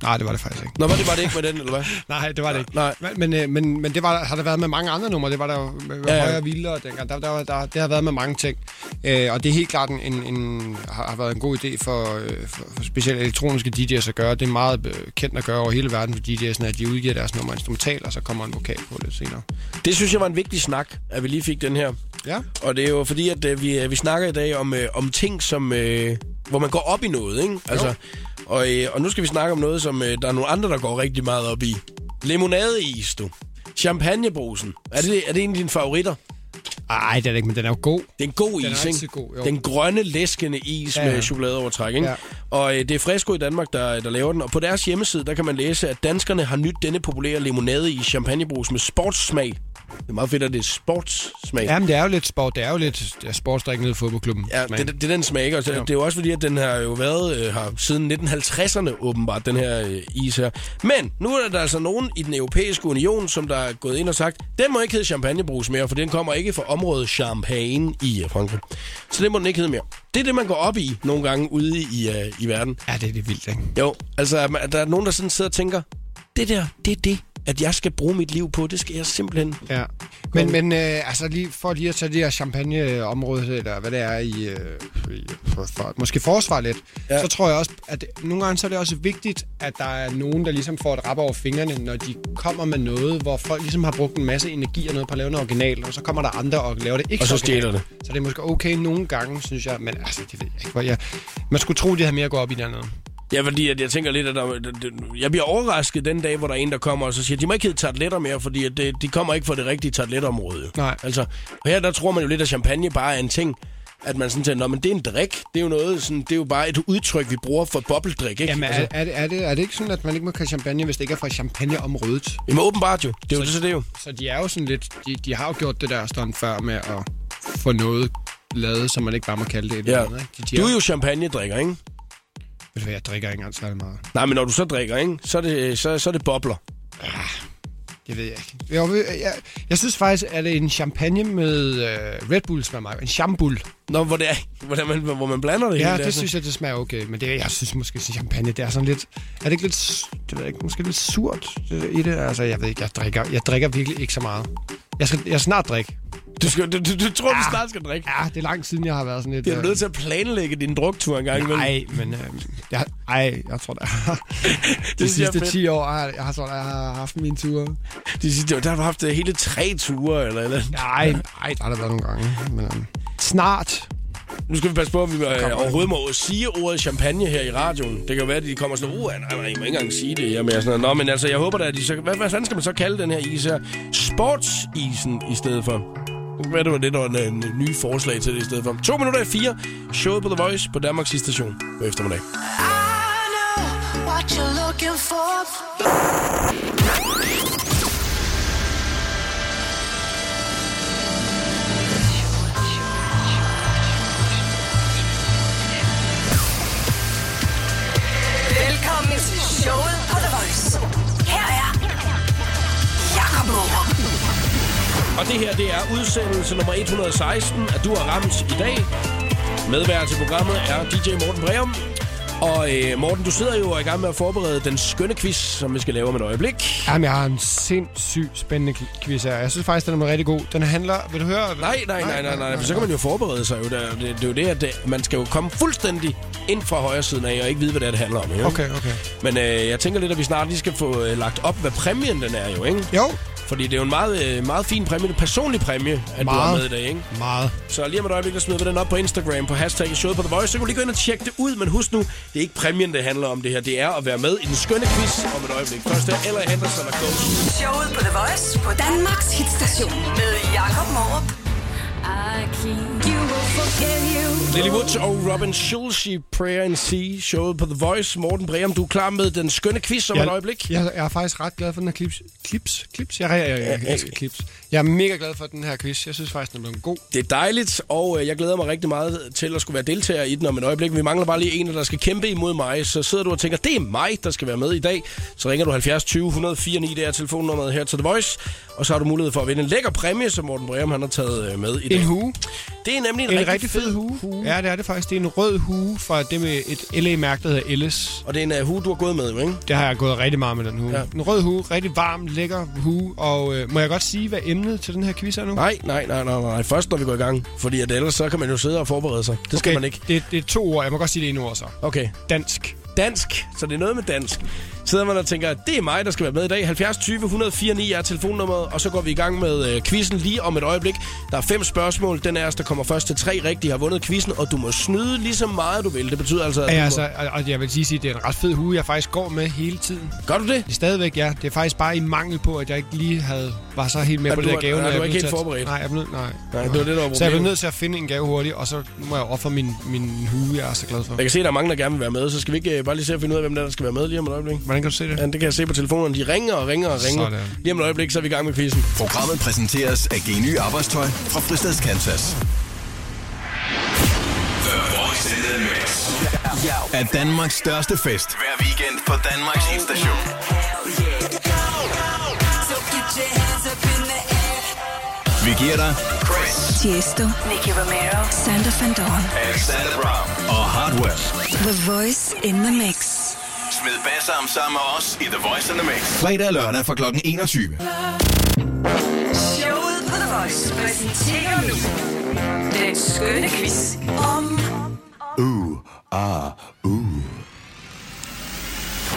Nej, det var det faktisk ikke. Nå, var det, var det ikke med den, eller hvad? Nej, det var det ikke. Nej. Men- Men, øh, men, men det var, har der været med mange andre numre. Det var der jo med Ja, ja. ja. højere og vildere dengang. Der, der, var- der, det har været med mange ting. Øh, og det er helt klart en, en, en, har, har været en god idé for, øh, for, for specielt elektroniske DJ's at gøre. Det er meget øh, kendt at gøre over hele verden for DJ's'en, at de udgiver deres nummer instrumental, og så kommer en vokal på lidt senere. Det synes jeg var en vigtig snak, at vi lige fik den her. Ja. Og det er jo fordi, at øh, vi, øh, vi snakker i dag om, øh, om ting, som, øh, hvor man går op i noget, ikke? Altså, og, øh, og nu skal vi snakke om noget, som øh, der er nogle andre, der går rigtig meget op i. Limonadeis, du. Champagnebrusen. Er det, er det en af dine favoritter? Ej, det er det ikke, men den er jo god. Det er en god Den er is, ikke? altid god, jo. Den grønne, læskende is ja, Ja, ja. ja. med chokoladeovertræk, ikke? Ja. Ja. Og øh, det er Fresco i Danmark, der, der laver den. Og på deres hjemmeside, der kan man læse, at danskerne har nyt denne populære limonade i champagnebrus med sportssmag. Det er meget fedt, at det er sportssmag. Jamen, det er jo lidt sport. Det er jo lidt ja, sportsdrik nede i fodboldklubben. Ja, det, det, det er den smag, og så- Ja. det er jo også fordi, at den har jo været øh, her siden 1950'erne åbenbart, den her øh, is her. Men nu er der altså nogen i den europæiske union, som der er gået ind og sagt, den må ikke hedde champagnebrus mere, for den kommer ikke fra området Champagne i øh, Frankrig. Så det må den ikke hedde mere. Det er det, man går op i nogle gange ude i, øh, i verden. ja det er det vildt, ikke? Jo, altså at man- at der er nogen, der sådan sidder og tænker, det der, det er det, at jeg skal bruge mit liv på, det skal jeg simpelthen. Ja. Men, men øh, altså lige for lige at tage det her champagneområde, eller hvad det er i, øh, i for, for, måske forsvar lidt, Ja. ja. så tror jeg også, at det- nogle gange så er det også vigtigt, at der er nogen, der ligesom får et rap over fingrene, når de kommer med noget, hvor folk ligesom har brugt en masse energi og noget på at lave noget original, og så kommer der andre og laver det ikke Og så originalt. stjæler det. Så det er måske okay nogle gange, synes jeg, men altså, det ved jeg ikke, hvor jeg... Man skulle tro, de havde mere at gå op i dernede. Ja, fordi at jeg tænker lidt, at der, det- det- jeg bliver overrasket den dag, hvor der er en, der kommer og så siger, de må ikke hedde tartletter mere, fordi at det, de kommer ikke fra det rigtige tartletterområde. Nej. Altså, og her der tror man jo lidt, at champagne bare er en ting, at man sådan tænker, "Nå, men det er en drik, det er jo noget, sådan, det er jo bare et udtryk, vi bruger for bobbeldrik, ikke? Jamen, altså, er, er, det, er, det, er det ikke sådan, at man ikke må kalde champagne, hvis det ikke er fra champagneområdet? jamen åbenbart jo, det er jo det, så det er jo. Så de er jo sådan lidt, de, de har jo gjort det der stand før med at få noget lavet, som man ikke bare må kalde det et Ja. eller andet. ikke? De, de Du er jo champagne-drikker, ikke? Ved du hvad, jeg drikker ikke engang særlig meget. Nej, men når du så drikker, ikke? Så er det, så, så er det bobler. Det ved jeg ikke. Jeg, jeg, jeg, jeg synes faktisk, at en champagne med øh, Red Bull smager meget. En shambul. Nå, hvor, det er, hvordan man, hvor man blander det Ja, hele. det altså. synes jeg, det smager okay. Men det, jeg synes måske, at champagne, det er sådan lidt... Er det ikke lidt... s- Det ved jeg ikke, måske lidt surt øh, i det? Altså, jeg ved ikke, jeg drikker, jeg drikker virkelig ikke så meget. Jeg skal, jeg snart drikke. Du, skal, du, du, du tror, Ah. du snart skal drikke. Ja, det er lang siden, jeg har været sådan lidt... Det er du øh, nødt til at planlægge din druktur en gang imellem. Nej, men øh, jeg, ej, jeg tror da, de synes jeg er sidste fedt. 10 år, har, jeg har, tror, da, jeg har haft mine ture. De siger, der har du haft øh, hele tre ture, eller, eller Nej, nej, der har der været nogle gange. Men, øh, snart. Nu skal vi passe på, at vi øh, overhovedet må sige ordet champagne her i radioen. Det kan jo være, at de kommer sådan, uh, nej, nej, I må ikke engang sige det her med sådan noget. Nå, men altså, jeg håber da, at de så... Hvad, hvad fanden skal man så kalde den her is her? Sportsisen i stedet for. Hvad det var det, der var en, en, en ny forslag til det i stedet for. To minutter i fire. Showet på The Voice på Danmarks station på eftermiddag. Velkommen til showet på The Voice. Her er Jakob Morup. Og det her, det er udsendelse nummer 116 af Du har ramt i dag. Medvært til programmet er DJ Morten Breum. Og øh, Morten, du sidder jo og er i gang med at forberede den skønne quiz, som vi skal lave om et øjeblik. Jamen, jeg har en sindssygt spændende ki- quiz her. Jeg synes faktisk, den er rigtig god. Den handler... Vil du høre? Nej, nej, nej, nej, nej, for så kan man jo forberede sig. Jo. Det, er- det, det er jo det, at det, man skal jo komme fuldstændig ind fra højre siden af, og ikke vide, hvad det, er, det handler om. Jo. Okay, okay. Men øh, jeg tænker lidt, at vi snart lige skal få øh, lagt op, hvad præmien den er jo, ikke? Jo. Fordi det er jo en meget, øh, meget fin præmie, en personlig præmie, at du har Meget. med i dag, ikke? Meget. Så lige om et øjeblik, der smider vi den op på Instagram på hashtagget showet på The Voice. Så kan du lige gå ind og tjekke det ud, men husk nu, det er ikke præmien, det handler om det her. Det er at være med i den skønne quiz om et øjeblik. Først er Ella Henderson og Ghost. Showet på The Voice på Danmarks hitstation med Jakob Morup. Lily Woods og Robin Schulze, Prayer and Sea, showet på The Voice. Morten Breum, du er klar med den skønne quiz om et øjeblik? Jeg, jeg er faktisk ret glad for den her clips. Clips? Clips? Jeg, jeg, jeg, jeg, jeg elsker clips. Jeg er mega glad for den her quiz. Jeg synes faktisk, den er blevet god. Det er dejligt, og øh, jeg glæder mig rigtig meget til at skulle være deltager i den om et øjeblik. Vi mangler bare lige en, der skal kæmpe imod mig. Så sidder du og tænker, det er mig, der skal være med i dag. Så ringer du 70 20 104 9, det er telefonnummeret her til The Voice. Og så har du mulighed for at vinde en lækker præmie, som Morten Breum han har taget øh, med i dag. En hue. Det er nemlig en, En rigtig fed hue. hue. Ja, det er det faktisk. Det er en rød hue fra det med et LA-mærke, der hedder Ellis. Og det er en uh, hue, du har gået med, jo, ikke? Det har jeg gået rigtig meget med den hue. Ja. Ja. En rød hue, rigtig varm, lækker hue. Og øh, må jeg godt sige, hvad emnet til den her quiz er nu? Nej, nej, nej, nej, nej. Først når vi går i gang. Fordi at ellers så kan man jo sidde og forberede sig. Det skal okay. man ikke. Det, det er to ord. Jeg må godt sige det ene ord så. Okay. Dansk. dansk, så det er noget med dansk. Sidder man og tænker, at det er mig, der skal være med i dag. 70 20 104 9 er telefonnummeret, og så går vi i gang med øh, quizzen lige om et øjeblik. Der er fem spørgsmål. Den af os, der kommer først til tre rigtige, har vundet quizzen, og du må snyde lige så meget, du vil. Det betyder altså, at Ja, du altså, og, og jeg vil lige sige, at det er en ret fed hue, jeg faktisk går med hele tiden. må... Gør du det? Det er stadigvæk, ja. Det er faktisk bare i mangel på, at jeg ikke lige havde, var så helt med At på du det der var- gave. ja, når du jeg var blev ikke helt sat- forberedt. Nej, jeg blev, nej. Nej, det var det, der var Så jeg blev problemet. nødt til at finde en gave hurtigt, og så må jeg ofre min, min hue, jeg er så glad for. Jeg kan se, at der er mange, der gerne vil være med, så skal vi ikke øh, bare lige se at finde ud af, hvem der, er, der skal være med lige om et øjeblik. Hvordan Hvordan kan du se det? Ja, det kan jeg se på telefonen. De ringer og ringer og ringer. Sådan. Lige om et øjeblik, så er vi i gang med quizzen. Programmet præsenteres af Geny Arbejdstøj fra Fristads Kansas. The Voice in the Mix. Af Danmarks største fest. Hver weekend på Danmarks hitstation. Vi giver dig Chris Tiesto, Nicky Romero. Sander Van Dorn, Alexander Brown. og hardware. The Voice in the Mix. Smid bassarm sammen med os i The Voice in the Mix. Fredag og lørdag fra kl. 21. Showet på The Voice præsenterer nu den skønne quiz om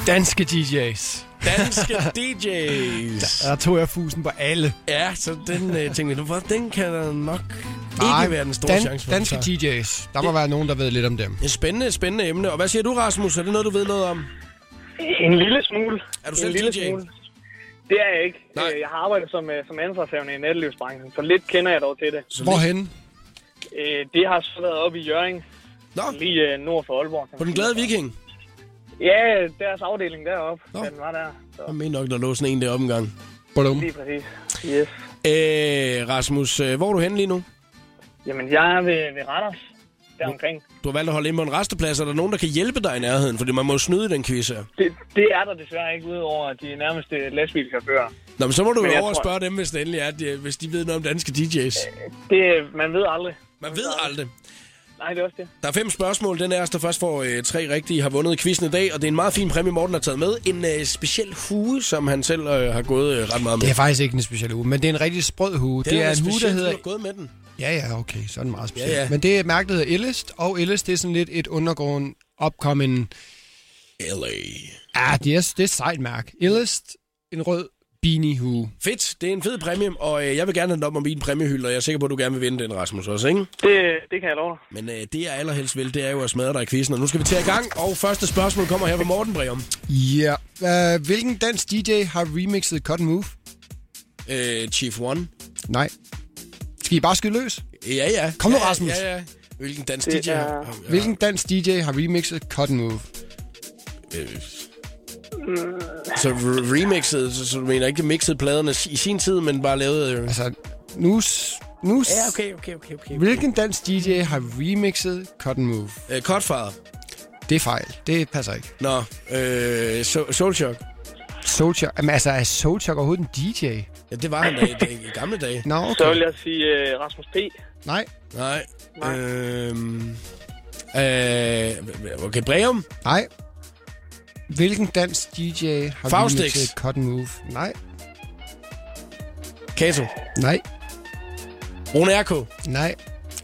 Danske DJ's. Danske DJ's. Der tog jeg fusen på alle. Ja, så den øh, tænkte jeg, "Hvor- den kan der nok Nej, ikke være den store chance for. Altså, danske Så- DJ's. Der må være nogen, der ved lidt om dem. Et spændende, spændende emne. Og hvad siger du, Rasmus? Er det noget, du ved noget om? En lille smule. Er du en selv lille DJ? Det er jeg ikke. Nej. Øh, Jeg har arbejdet som, øh, som ansvarshavende i nattelivsbranchen, så lidt kender jeg dog til det. Hvorhen? Øh, Det har så været oppe i Jørgen, Nå, lige øh, nord for Aalborg. kan på man den sige. glade viking. Ja, deres afdeling deroppe, Nå. den var der. Så Jeg mener nok, der lå sådan en deroppe engang. Badum. lige præcis. Yes. Øh, Rasmus, øh, hvor er du henne lige nu? Jamen, jeg er ved, ved Randers, der omkring. Du har valgt at holde ind på en resteplads. Er der nogen, der kan hjælpe dig i nærheden? Fordi man må jo snyde i den quiz her. Det, det er der desværre ikke, udover de nærmeste lastbilchauffører. Nå, men så må du Men jo jeg over og tror- spørge dem, hvis det endelig er, at de, hvis de ved noget om danske DJ's. Det, man ved aldrig. Man ved aldrig. Nej, det er også det. Der er fem spørgsmål. Den er os, der først får øh, tre rigtige, har vundet quizzen i dag. Og det er en meget fin præmie, Morten har taget med. En øh, speciel hue, som han selv øh, har gået øh, ret meget med. Det er faktisk ikke en speciel uge, men det er en rigtig sprød hue. Det, er en hue, der hedder... Du har gået med den. Ja, ja, okay, så er den meget speciel. Ja, ja. Men det er mærket hedder Illest, og Illest det er sådan lidt et undergrund opkommen... LA. Ja, det er, det er et sejt mærke. Illest, en rød beanie hue. Fedt. Det er en fed præmie, og øh, jeg vil gerne have den op om min præmiehylde, og jeg er sikker på, at du gerne vil vinde den, Rasmus, også, ikke? Det, det kan jeg love dig. Men øh, det, jeg allerhelst vil, det er jo at smadre dig i quizzen, og nu skal vi til i gang. Og første spørgsmål kommer her fra Morten Breum. Ja. Yeah. Uh, hvilken dansk DJ har remixet Cotton Move? Øh, Chief One. Nej. Skal I bare skyde løs? Ja, ja. Kom nu, ja, ja, Rasmus. Ja, ja. Hvilken dansk Det DJ er- har... Ja. Hvilken dansk DJ har remixet Cotton Move? Øh. Så re- remixet, så, så du mener ikke mixet pladerne i sin tid, men bare lavet... Øh. Altså, nu... s- nu s- okay, okay, okay. Hvilken dansk DJ har remixet Cotton Move? Øh, Godfather. Det er fejl. Det passer ikke. Nå, øh, so- Soulshock. Soulchuck. Jamen, altså, er Soulchuck overhovedet en DJ? Ja, det var han da i, da, i gamle dage. Nå, Så vil okay. jeg sige øh, Rasmus P. Nej. Nej. Nej. Øhm, øh, okay, Breum. Nej. Hvilken dansk DJ har Faustix. remixet Cotton Move? Nej. Kato. Nej. Rune R.K. Nej.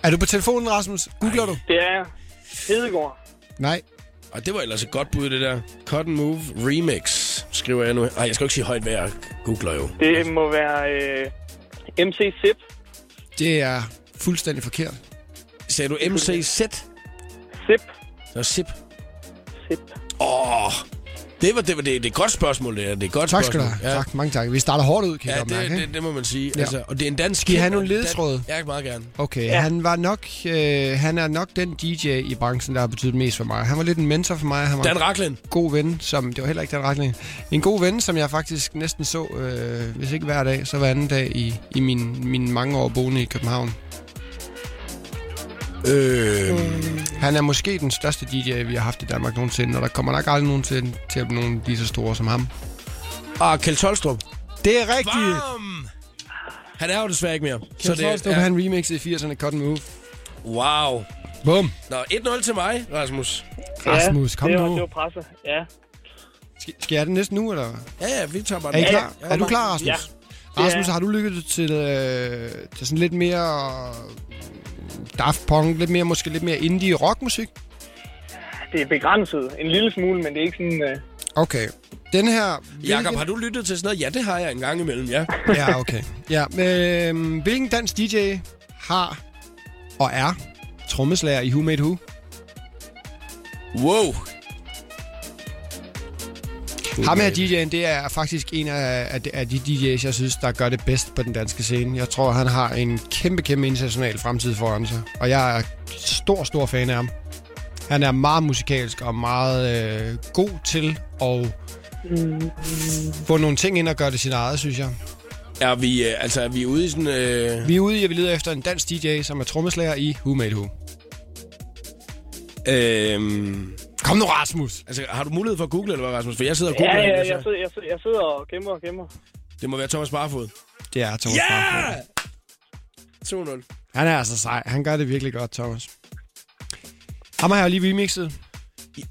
Er du på telefonen, Rasmus? Googler du? Det er Hedegaard. Nej. Og det var ellers et godt bud, det der. Cotton Move Remix, skriver jeg nu. Ej, jeg skal jo ikke sige højt, hvad jeg googler jo. Det må være øh, MC Zip. Det er fuldstændig forkert. Sagde du MCZ? Zip. Nå, Zip. Zip. Åh, oh, det var, det var det, det er et godt spørgsmål, det er. Det er et godt Tak skal du spørgsmål. have. Ja. Tak, mange tak. Vi starter hårdt ud, kan jeg Ja, godt mærke. det, ikke? det, det, må man sige. Ja. Ja. Altså, og det er en dansk... Skal I have kendt- nogle ledetråde? Dan- Jeg kan meget gerne. Okay, ja. Ja. han var nok, øh, han er nok den DJ i branchen, der har betydet mest for mig. Han var lidt en mentor for mig. Han var Dan Racklin. en god ven, som, det var heller ikke den retning. En god ven, som jeg faktisk næsten så, øh, hvis ikke hver dag, så hver anden dag i, i min, mine mange år boende i København. Øh, Øhm. Han er måske den største DJ, vi har haft i Danmark nogensinde, og der kommer nok aldrig nogen til, til at blive nogen lige så store som ham. og Kjeld Tolstrup. Det er rigtigt! Bam! Han er jo desværre ikke mere. Så det, ja. er, han remixede i 80'erne Cotton Move. wow. Bum! Nå, 1-0 til mig, Rasmus. Rasmus, ja, kom det nu. Var, det var presset. Ja. Skal, skal jeg have den næsten nu, eller? Ja, ja, vi tager bare Er I den. klar? Ja, ja. Er du klar, Rasmus? Ja. Rasmus, Ja. har du lyttet til, øh, til sådan lidt mere øh, Daft Punk, lidt mere, måske lidt mere indie rockmusik? Det er begrænset. En lille smule, men det er ikke sådan... Øh, Okay. Den her... Jakob, har du lyttet til sådan noget? Ja, det har jeg en gang imellem, ja. Ja, okay. Ja, øh, hvilken dansk DJ har og er trommeslager i Who Made Who? Wow. Ham her DJ'en, det er faktisk en af, af, de- af de DJ's, jeg synes, der gør det bedst på den danske scene. Jeg tror, han har en kæmpe, kæmpe international fremtid foran sig. Og jeg er stor, stor fan af ham. Han er meget musikalsk og meget øh, god til at Få nogle ting ind og gøre det sin eget, synes jeg. Er vi, øh, altså, er vi ude i sådan... Øh, Vi er ude i, at vi leder efter en dansk DJ, som er trommeslager i Who Made Who. øh, Kom nu, Rasmus! altså, har du mulighed for at google, eller hvad, Rasmus? For jeg sidder og Ja, googler. ja, altså. jeg sidder, jeg, sidder, jeg sidder og kæmper og kæmper. Det må være Thomas Barfod. Det er Thomas Ja! Barfod. 2-0. Han er altså sej. Han gør det virkelig godt, Thomas. Ham har jeg jo lige remixet.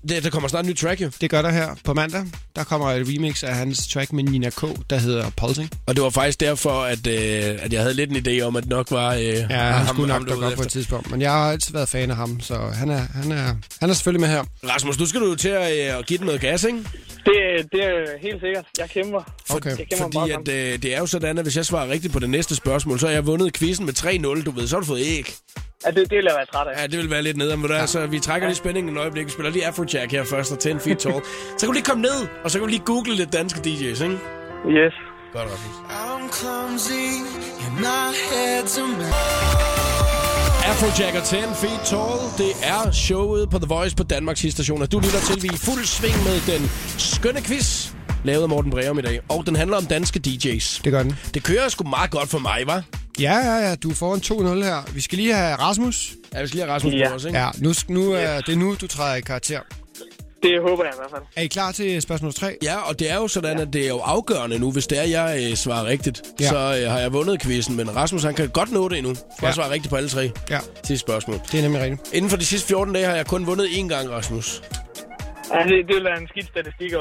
Det, der kommer snart en ny track, jo. Det gør der her på mandag. Der kommer et remix af hans track med Nina K, der hedder Pulsing. Og det var faktisk derfor, at, øh, at jeg havde lidt en idé om, at nok var... Øh, ja, Ja, han skulle nok dukke op på et tidspunkt. Men jeg har altid været fan af ham, så han er, han er, han er selvfølgelig med her. Rasmus, nu skal du jo til at, øh, at give den noget gas, ikke? Det, det er helt sikkert. Jeg kæmper. Okay. Jeg kæmper Fordi meget at, øh, det er jo sådan, at hvis jeg svarer rigtigt på det næste spørgsmål, så har jeg vundet quizzen med 3-0, du ved. Så har du fået æg. Ja, det, det vil jeg være træt af. Ja, det vil være lidt nede, men ja. så vi trækker lige spændingen et øjeblik. Vi spiller lige Afrojack her først og 10 feet tall. så kan du lige komme ned, og så kan du lige google lidt danske DJ's, ikke? Yes. Godt, Rasmus. I'm clumsy and my head's a mess. Afrojack og 10 feet tall, det er showet på The Voice på Danmarks stationer. Du lytter til, vi er i fuld sving med den skønne quiz, lavet af Morten Breum i dag. Og den handler om danske DJ's. Det gør den. Det kører sgu meget godt for mig, var? Ja, ja, ja. Du får en 2-0 her. Vi skal lige have Rasmus. Ja, vi skal lige have Rasmus ja. Ja. på os, ikke? Ja, nu, nu er det er nu, du træder i karakter. Det håber jeg i hvert fald. Er I klar til spørgsmål 3? Ja, og det er jo sådan, at det er jo afgørende nu. Hvis det er, jeg øh, svarer rigtigt, ja. Ja. så øh, har jeg vundet quizzen. Men Rasmus, han kan godt nå det endnu. Bare ja. Ja. svare rigtigt på alle tre Ja, sidste spørgsmål. det er nemlig rigtigt. Inden for de sidste 14 dage har jeg kun vundet én gang, Rasmus. Ja, det, det vil være en skidt statistik at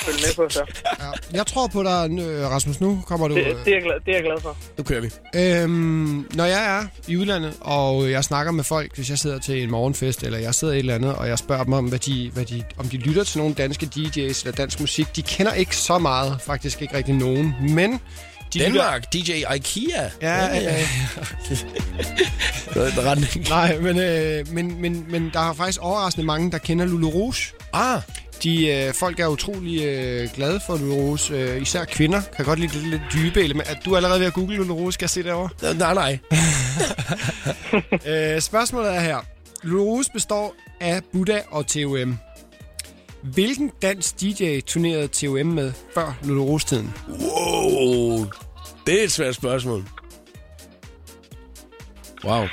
følge med på, så. Ja. Jeg tror på dig, øh, Rasmus. Nu kommer du... Det, øh, det, er, jeg glad, det er jeg glad for. Nu kører vi. Øhm, når jeg er i udlandet, og jeg snakker med folk, hvis jeg sidder til en morgenfest, eller jeg sidder et eller andet, og jeg spørger dem om, hvad de, hvad de, om de lytter til nogle danske DJ's eller dansk musik, de kender ikke så meget, faktisk ikke rigtig nogen, men... De Danmark, DJ IKEA. Lytter, ja, øh, Det er en retning. nej, men, øh, men, men, men der er faktisk overraskende mange, der kender Lulu Rouge. Ah, De, øh, folk er utrolig øh, glade for Lulu Rouge, øh, især kvinder kan godt lide det lidt dybe element. Er du allerede ved at google Lulu Rouge, skal jeg se derovre? nej, nej. Øh, spørgsmålet er her. Lulus består af Buddha og TOM. Hvilken dansk DJ turnerede TOM med før Lulurus-tiden? Wow. Det er et svært spørgsmål. Wow.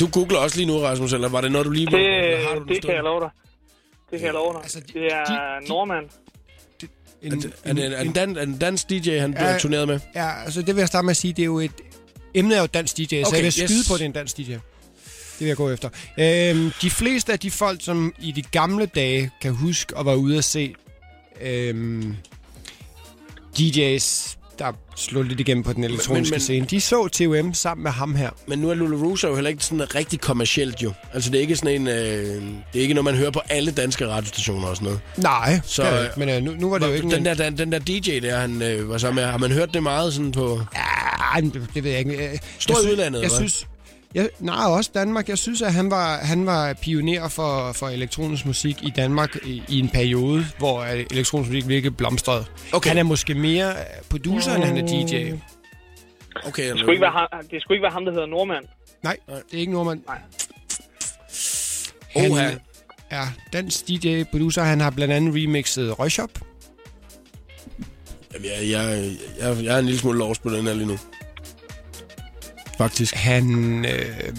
Du googler også lige nu, Rasmus, eller var det noget, du lige... Det, eller har du den det kan stående? jeg love dig. Det kan jeg love dig. Altså, de- Det er de- de- nordmand. En, Er det- Er det er det en, dan, er det en dansk DJ, han bliver Ja. turneret med? ja, altså det vil jeg starte med at sige, det er jo et... Emnet er jo dansk DJ, okay, så Okay, jeg vil skyde yes. på, at det er en dansk DJ. Det vil jeg gå efter. Øhm, de fleste af de folk, som i de gamle dage kan huske og var ude at se øhm, DJ's, der slog lidt igennem på den elektroniske men- scene, de så TOM sammen med ham her. Men nu er Lularusa jo heller ikke sådan rigtig kommercielt jo. Altså det er ikke sådan en, øh, det er ikke noget, man hører på alle danske radiostationer og sådan noget. Nej, Så, så, øh, kan ikke. men øh, nu, nu var det jo ikke... den, der, den, den der DJ der, han øh, var sammen med, har man hørt det meget sådan på... Ej, Ah, men det, det ved jeg ikke. Jeg- Stor i jeg sy- udlandet, Jeg eller hvad? synes... Jeg, nej, også Danmark. Jeg synes, at han var, han var pioner for, for elektronisk musik i Danmark i, i en periode, hvor øh, elektronisk musik virkelig blomstrede. Okay. Mm. Han er måske mere øh, producer, end han er DJ. Okay, Det skulle, ikke være ham, det skulle ikke være ham, der hedder nordmand. Nej, det er ikke Norman. Nej. Han Oha. er dansk DJ-producer. Han har blandt andet remixet Røgshop. jeg, jeg, jeg, jeg er en lille smule lost på den her lige nu. Faktisk. Han, øh,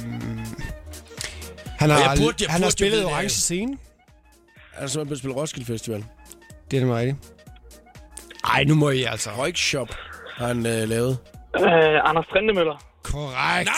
han har, jeg burde- jeg burde jo han har vide spillet det. Orange Scene. Han er simpelthen blevet spillet Roskilde Festival. Det er det meget. Ej, nu må I altså. Røgshop har han øh, lavet. Øh, Anders Trindemøller. Korrekt.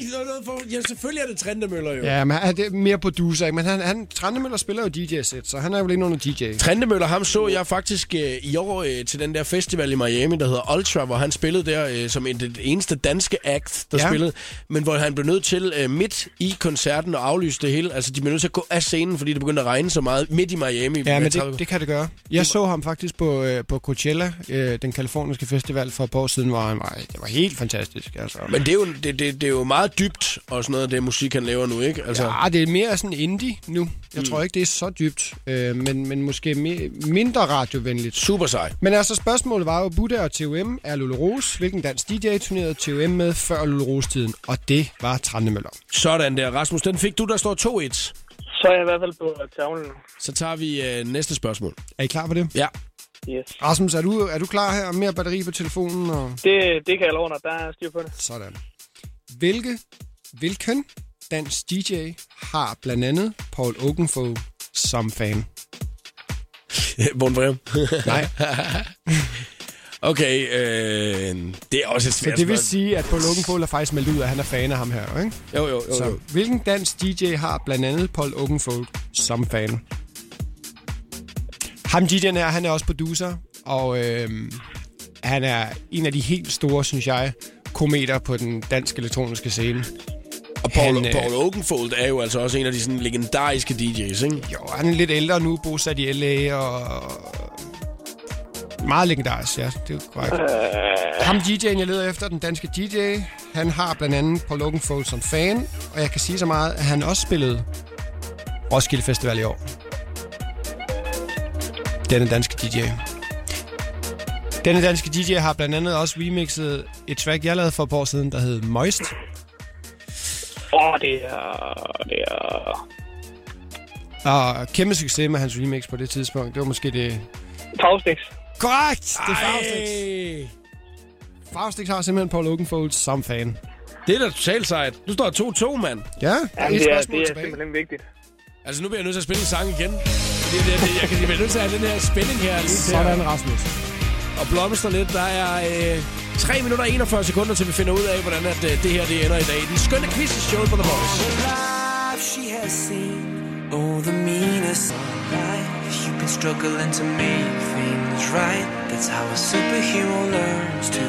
det er noget for... Ja, selvfølgelig er det Trendemøller jo. Ja. Ja, men han det er mere producer, ikke? Men han, han, Trandemøller spiller jo DJ-sæt, så han er jo lidt under DJ. Trendemøller, ham så jeg faktisk øh, i år øh, til den der festival i Miami, der hedder Ultra, hvor han spillede der øh, som en, det eneste danske act, der ja. Ja. spillede. Men hvor han blev nødt til øh, midt i koncerten at aflyse det hele. Altså, de blev nødt til at gå af scenen, fordi det begyndte at regne så meget midt i Miami. Ja, med men 30. det, det kan det gøre. Jeg så ham faktisk på, øh, på Coachella, øh, den kaliforniske festival for et par år siden, hvor han var, det var helt fantastisk. Altså. Men det er, jo, det, det, det er jo meget dybt og sådan noget, det musik, han laver nu, ikke? Altså, Ja, det er mere sådan indie nu. Jeg mm. tror ikke, det er så dybt, øh, men, men måske mere, mindre radiovenligt. super sej. Men altså, spørgsmålet var jo, Buddha og TOM er Lulle Rose. Hvilken dansk DJ turnerede TOM med før Lulle Rose-tiden? Og det var Trandemøller. Sådan der, Rasmus. Den fik du, der står 2-1. Så er jeg i hvert fald på tavlen nu. Så tager vi øh, næste spørgsmål. Er I klar på det? Ja, Yes. Rasmus, er du, er du klar her? Mere batteri på telefonen? Og... Det, det kan jeg love dig, der er styr på det. Sådan. Hvilke, hvilken dansk DJ har blandt andet Paul Oakenfold som fan? Vågen brev. Nej. Okay, øh, det er også et Så svært det vil spørgsmål. sige, at Paul Oakenfold er faktisk meldt ud, at han er fan af ham her, ikke? Jo, jo, jo. Så jo. hvilken dansk DJ har blandt andet Paul Oakenfold som fan? Ham DJ'en her, han er også producer, og øhm, han er en af de helt store, synes jeg, kometer på den danske elektroniske scene. Og Paul, han, øh, Paul Oakenfold er jo altså også en af de sådan legendariske DJ's, ikke? Jo, han er lidt ældre nu, bosat i LA, og... Meget legendarisk, ja, det er korrekt. Ham DJ'en, jeg leder efter, den danske DJ, han har blandt andet Paul Oakenfold som fan, og jeg kan sige så meget, at han også spillede Roskilde Festival i år. Denne danske DJ. Denne danske DJ har blandt andet også remixet et track, jeg lavede for et par år siden, der hed Moist. Åh, det er... Det er... Og kæmpe succes med hans remix på det tidspunkt. Det var måske det... Faustix. Korrekt! Det er Faustix. Ej, Faustix har simpelthen Paul Oakenfold som fan. det er da totalt sejt. Nu står der 2-2, mand. Ja, Jamen, det er, det er simpelthen vigtigt. Altså, nu bliver jeg nødt til at spille en sang igen. Fordi det, det, jeg, kan, jeg bliver nødt til at have den her spænding her lige til at, Sådan, Rasmus. at blomstre lidt. Der er øh, 3 minutter og 41 sekunder, til vi finder ud af, hvordan at, øh, det her det ender i dag. Den skønne quiz i showet på The Voice. life she has seen, all the meanest life. You've been struggling to make things right. That's how a superhero learns to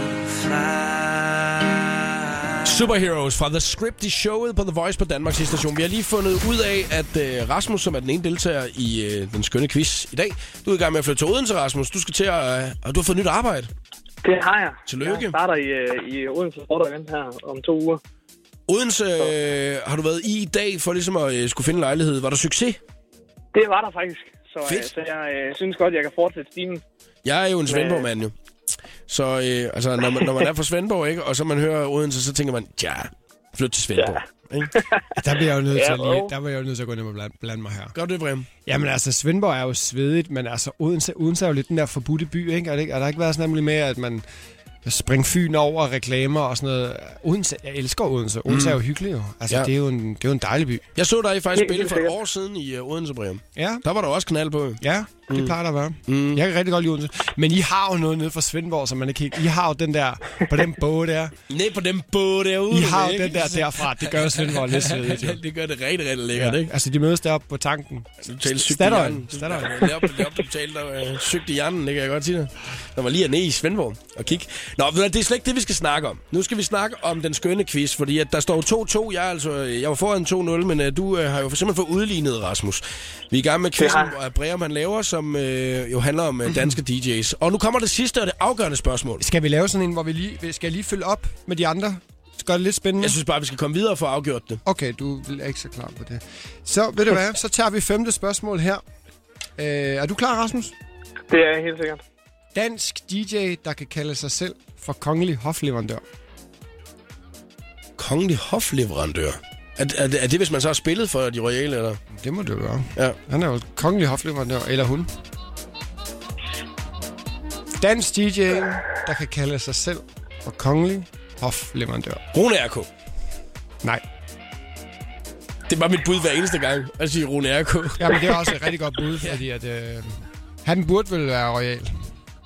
fly. Superheroes fra The Script i showet på The Voice på Danmarks station. Vi har lige fundet ud af, at øh, Rasmus, som er den ene deltager i øh, den skønne quiz i dag, du er i gang med at flytte til Odense, Rasmus. Du skal til at... Øh, og du har fået nyt arbejde. Det har jeg. Tillykke. Jeg starter i, øh, i Odense Sport Event her om to uger. Odense øh, har du været i i dag for ligesom at øh, skulle finde en lejlighed. Var der succes? Det var der faktisk. Så, øh, Fedt. så jeg øh, synes godt, jeg kan fortsætte stimen. Jeg er jo en Svendborg-mand jo. Så øh, altså, når, man, når man er fra Svendborg, ikke, og så man hører Odense, så tænker man, ja, flyt til Svendborg. Ja. Ikke? Der bliver jeg jo nødt til, Ja, at lige, og- der bliver jeg jo nødt til at gå ned og blande, blande mig her. Gør det, Brem. Jamen altså, Svendborg er jo svedigt, men altså, Odense, Odense er jo lidt den der forbudte by, ikke? Og, det, ikke- og der har ikke været sådan nemlig med, at man springer Fyn over reklamer og sådan noget. Odense, jeg elsker Odense. Odense mm. er jo hyggelig jo. Altså, Ja. ja. det, er jo en, det er jo en dejlig by. Jeg så dig faktisk Helt spille for et sikkert. år siden i øh, Odense, Brem. Ja, Der var der også knald på. ja det plejer der at være. Mm. Jeg kan rigtig godt lide Odense. Men I har jo noget nede fra Svendborg, som man ikke helt... I har jo den der, på den båd der. Ned på den båd derude. I har jo ikke? den der derfra. Det gør jo Svendborg lidt svedigt, jo. det gør det rigtig, rigtig lækkert, Ja, ikke? Altså, altså, de mødes deroppe på tanken. Statoil. Statoil. Lærte op, du talte dig øh, sygt i hjernen, det kan jeg godt sige dig. Når man lige er nede i Svendborg og kig. Nå, ved du hvad, det er slet ikke det, vi skal snakke om. Nu skal vi snakke om den skønne quiz, fordi at der står jo 2-2. Jeg, er altså, øh, jeg var foran 2-0, men øh, du øh, har jo simpelthen fået udlignet, Rasmus. Vi er i gang med quizzen, har jeg. hvor Breum han laver, som øh, jo handler om øh, danske DJ's. Og nu kommer det sidste og det afgørende spørgsmål. Skal vi lave sådan en, hvor vi lige... Skal jeg lige følge op med de andre? Gør det lidt spændende? Jeg synes bare, vi skal komme videre for at afgjort det. Okay, du er ikke så klar på det. Så ved du hvad, så tager vi femte spørgsmål her. Øh, er du klar, Rasmus? Det er jeg helt sikkert. Dansk DJ, der kan kalde sig selv for kongelig hofleverandør. Kongelig hofleverandør. Er, er, det- er det, hvis man så har spillet for de royale, eller? Det må du gøre. Ja. Han er jo kongelig hofleverandør, eller hun. Dansk DJ, der kan kalde sig selv for kongelig hofleverandør. Rune RK. Nej. Det er bare mit bud hver eneste gang at sige Rune RK. Ja, men det er også et rigtig godt bud, fordi at, øh, han burde vel være royal.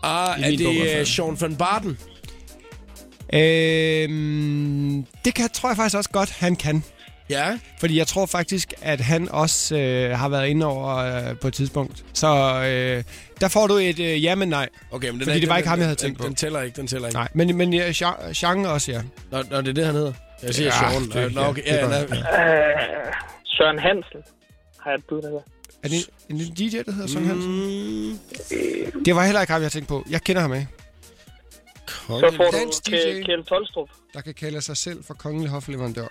Ah, I er min bog i hvert det fald. uh, Sean van Barden? Øh, det kan, tror jeg faktisk også godt, han kan. Ja. Fordi jeg tror faktisk, at han også øh, har været inde over øh, på et tidspunkt. Så øh, der får du et øh, ja, men nej. Okay, men den Fordi er, det var den, ikke ham, jeg havde den- tænkt på. Den, den tæller ikke, den tæller ikke. Nej, men, men ja, Jean, Jean også, ja. Nå, nå, det er det, han hedder. Jeg siger Ja, Sean. det- Nå, nå, ja, okay. det er Ja, godt. ja, Øh, Søren Hansen har jeg et bud, der hedder. Er det en, en lille DJ, der hedder Søren Hansen? Mm, Det var heller ikke ham, jeg tænkte på. Jeg kender ham af. Så får kongelig. du Dansk DJ. Kjeld- Kjeld Tolstrup. Der kan kalde sig selv for kongelig hofleverandør.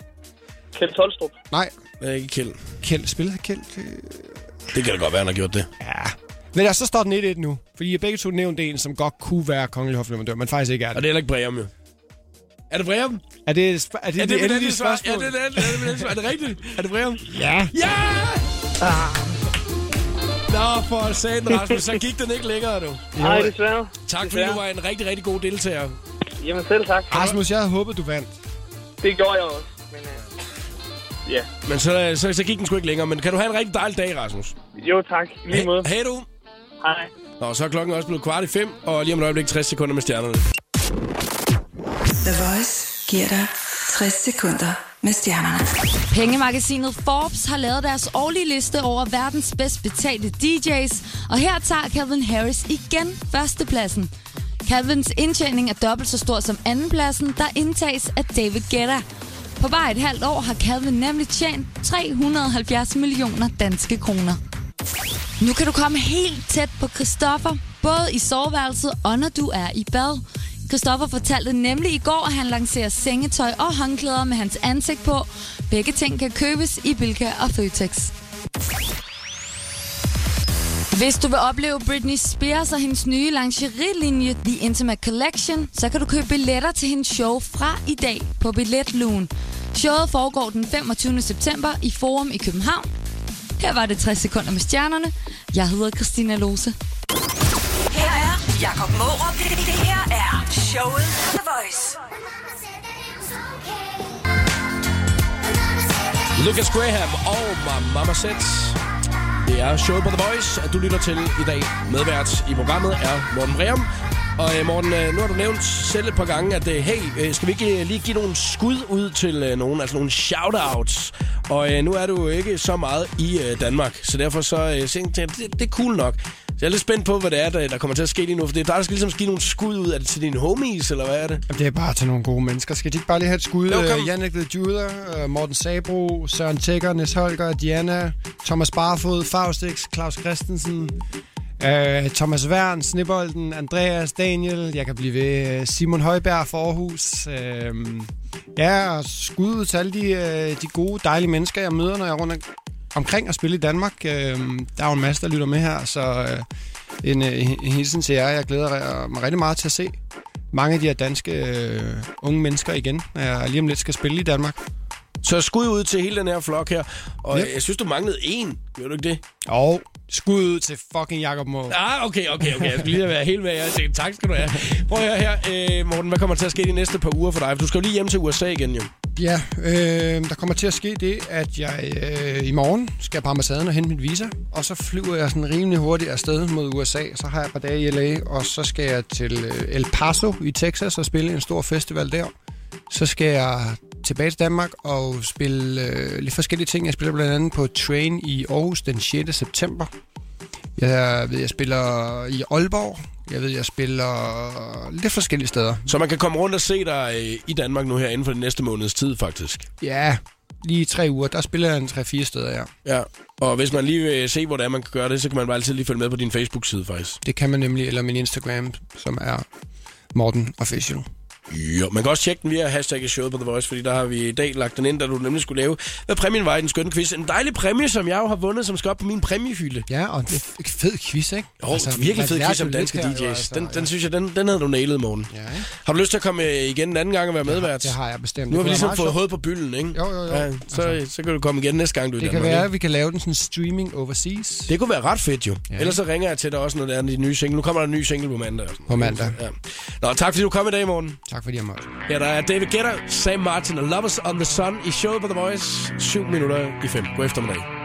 Kjeld Tolstrup. Nej, Det er ikke Kjeld. Kjeld. Spillede Kjeld? Øh, Det kan da godt være, han har gjort det. Ja. Men der, så står den 1-1 nu. Fordi I har begge to nævnt en, som godt kunne være kongelig hofleverandør, men faktisk ikke er Og det. det er heller ikke Breum, jo. Er det Breum? Er det, et sp- er det, Er er det mit det, det andet endelige svar? Ja, spørgsmål? det er det andet- det er det mit andet svar. Er det rigtigt? Er det Breum? Ja. Ja! Nå, for satan, Rasmus, så gik den ikke længere, du. Nej, desværre. Tak, fordi Desværre. du var en rigtig, rigtig god deltager. Jamen selv tak. Rasmus, jeg havde håbet, du vandt. Det gjorde jeg også. Men, øh, ja. Men så, så, så gik den sgu ikke længere. Men kan du have en rigtig dejlig dag, Rasmus? Jo tak. I Lige måde. Hej du. Hej. Og så er klokken også blevet kvart i fem, og lige om et øjeblik 60 sekunder med stjernerne. The Voice giver dig 60 sekunder med stjernerne. Pengemagasinet Forbes har lavet deres årlige liste over verdens bedst betalte DJ's, og her tager Calvin Harris igen førstepladsen. Calvins indtjening er dobbelt så stor som andenpladsen, der indtages af David Guetta. På bare et halvt år har Calvin nemlig tjent 370 millioner danske kroner. Nu kan du komme helt tæt på Christoffer, både i soveværelset og når du er i bad. Christoffer fortalte nemlig i går, at han lancerer sengetøj og håndklæder med hans ansigt på. Begge ting kan købes i Bilka og Føtex. Hvis du vil opleve Britney Spears og hendes nye lingerie-linje, The Intimate Collection, så kan du købe billetter til hendes show fra i dag på Billetlugen. Showet foregår den 25. september i Forum i København. Her var det 60 sekunder med stjernerne. Jeg hedder Christina Lose. Her er Jakob Morup. Det, det her er showet på The Voice. Lucas Graham og Ma- Mama Sets. Det er showet på The Voice, at du lytter til i dag. Medvært i programmet er Morten Breum. Og øh, Morten, øh, nu har du nævnt selv et par gange, at øh, hey, øh, skal vi ikke øh, lige give nogle skud ud til øh, nogen, altså nogle shoutouts? Og øh, nu er du jo ikke så meget i øh, Danmark, så derfor så øh, tænkte jeg, det, det er cool nok. Så jeg er lidt spændt på, hvad det er, der, der kommer til at ske lige nu, for det er dig, der skal ligesom give nogle skud ud. Er det til dine homies, eller hvad er det? Jamen, det er bare til nogle gode mennesker. Skal de ikke bare lige have et skud? Jo, kom. Øh, Jannik The Juder, øh, Morten Sabro, Søren Tækker, Nis Holger, Diana, Thomas Barfod, Faustix, Claus Christensen, øh, Thomas Wern, Snibolden, Andreas, Daniel, jeg kan blive ved, øh, Simon Højberg fra Aarhus. Øh, ja, og skud ud til alle de, øh, de gode, dejlige mennesker, jeg møder, når jeg er rundt omkring og spille i Danmark. Øh, der er jo en masse, der lytter med her, så øh, en, øh, en hilsen til jer. Jeg glæder mig rigtig meget til at se mange af de her danske øh, unge mennesker igen, når jeg lige om lidt skal spille i Danmark. Så skud ud til hele den her flok her. Og Ja. yep. jeg synes, du manglede en. Gjorde du ikke det? Og skud ud til fucking Jakob Må. Ah, okay, okay, okay. Jeg skulle lige være helt med. Jeg tænkte, tak skal du have. Prøv at høre her, øh, Morten. Hvad kommer til at ske de næste par uger for dig? For du skal jo lige hjem til USA igen, jo. Ja, øh, der kommer til at ske det, at jeg øh, i morgen skal på ambassaden og hente mit visa, og så flyver jeg sådan rimelig hurtigt afsted mod USA. Så har jeg et par dage i LA, og så skal jeg til øh, El Paso i Texas og spille en stor festival der. Så skal jeg tilbage til Danmark og spille øh, lidt forskellige ting. Jeg spiller blandt andet på Train i Aarhus den 6. september. Jeg ved, jeg spiller i Aalborg. Jeg ved, jeg spiller lidt forskellige steder. Så man kan komme rundt og se dig øh, i Danmark nu her inden for den næste måneds tid, faktisk. Ja, lige i tre uger. Der spiller jeg en 3-4 steder, ja. Ja. Og hvis man lige vil se, hvor det er, man kan gøre det, så kan man bare altid lige følge med på din Facebook-side, faktisk. Det kan man nemlig, eller min Instagram, som er Morten Official. Jo, man kan også tjekke den via hashtagget showet på The Voice, fordi der har vi i dag lagt den ind, da du nemlig skulle lave, hvad præmien var i den skønne quiz. En dejlig præmie, som jeg jo har vundet, som skal op på min præmiehylde. Ja, og det er en fed quiz, ikke? Jo, altså, virkelig man fed lærte quiz jo om lidt danske her, jo, DJ's. altså, den, den ja. synes jeg, den, den havde du nailet, morgen. Ja, ikke? Har du lyst til at komme øh, igen en anden gang og være medvært? det har jeg bestemt. Nu har vi Det kunne ligesom være fået meget hovedet på bylden, ikke? Jo, jo, jo. Ja, så, så kan du komme igen næste gang, du er i Det kan Danmark, være, ikke? at vi kan lave den sådan streaming overseas. Det kunne være ret fedt, jo. Ja. Ja. Ellers så ringer jeg til dig også, når der er en ny single. Nu kommer der en ny single på mandag. og sådan På noget. mandag. Ja. Nå, tak fordi du kom i dag, morgen. Tak fordi jeg måtte. Ja, der er David Guetta, Sam Martin og Lovers on the Sun i showet på The Voice. 7 minutter i 5. God eftermiddag.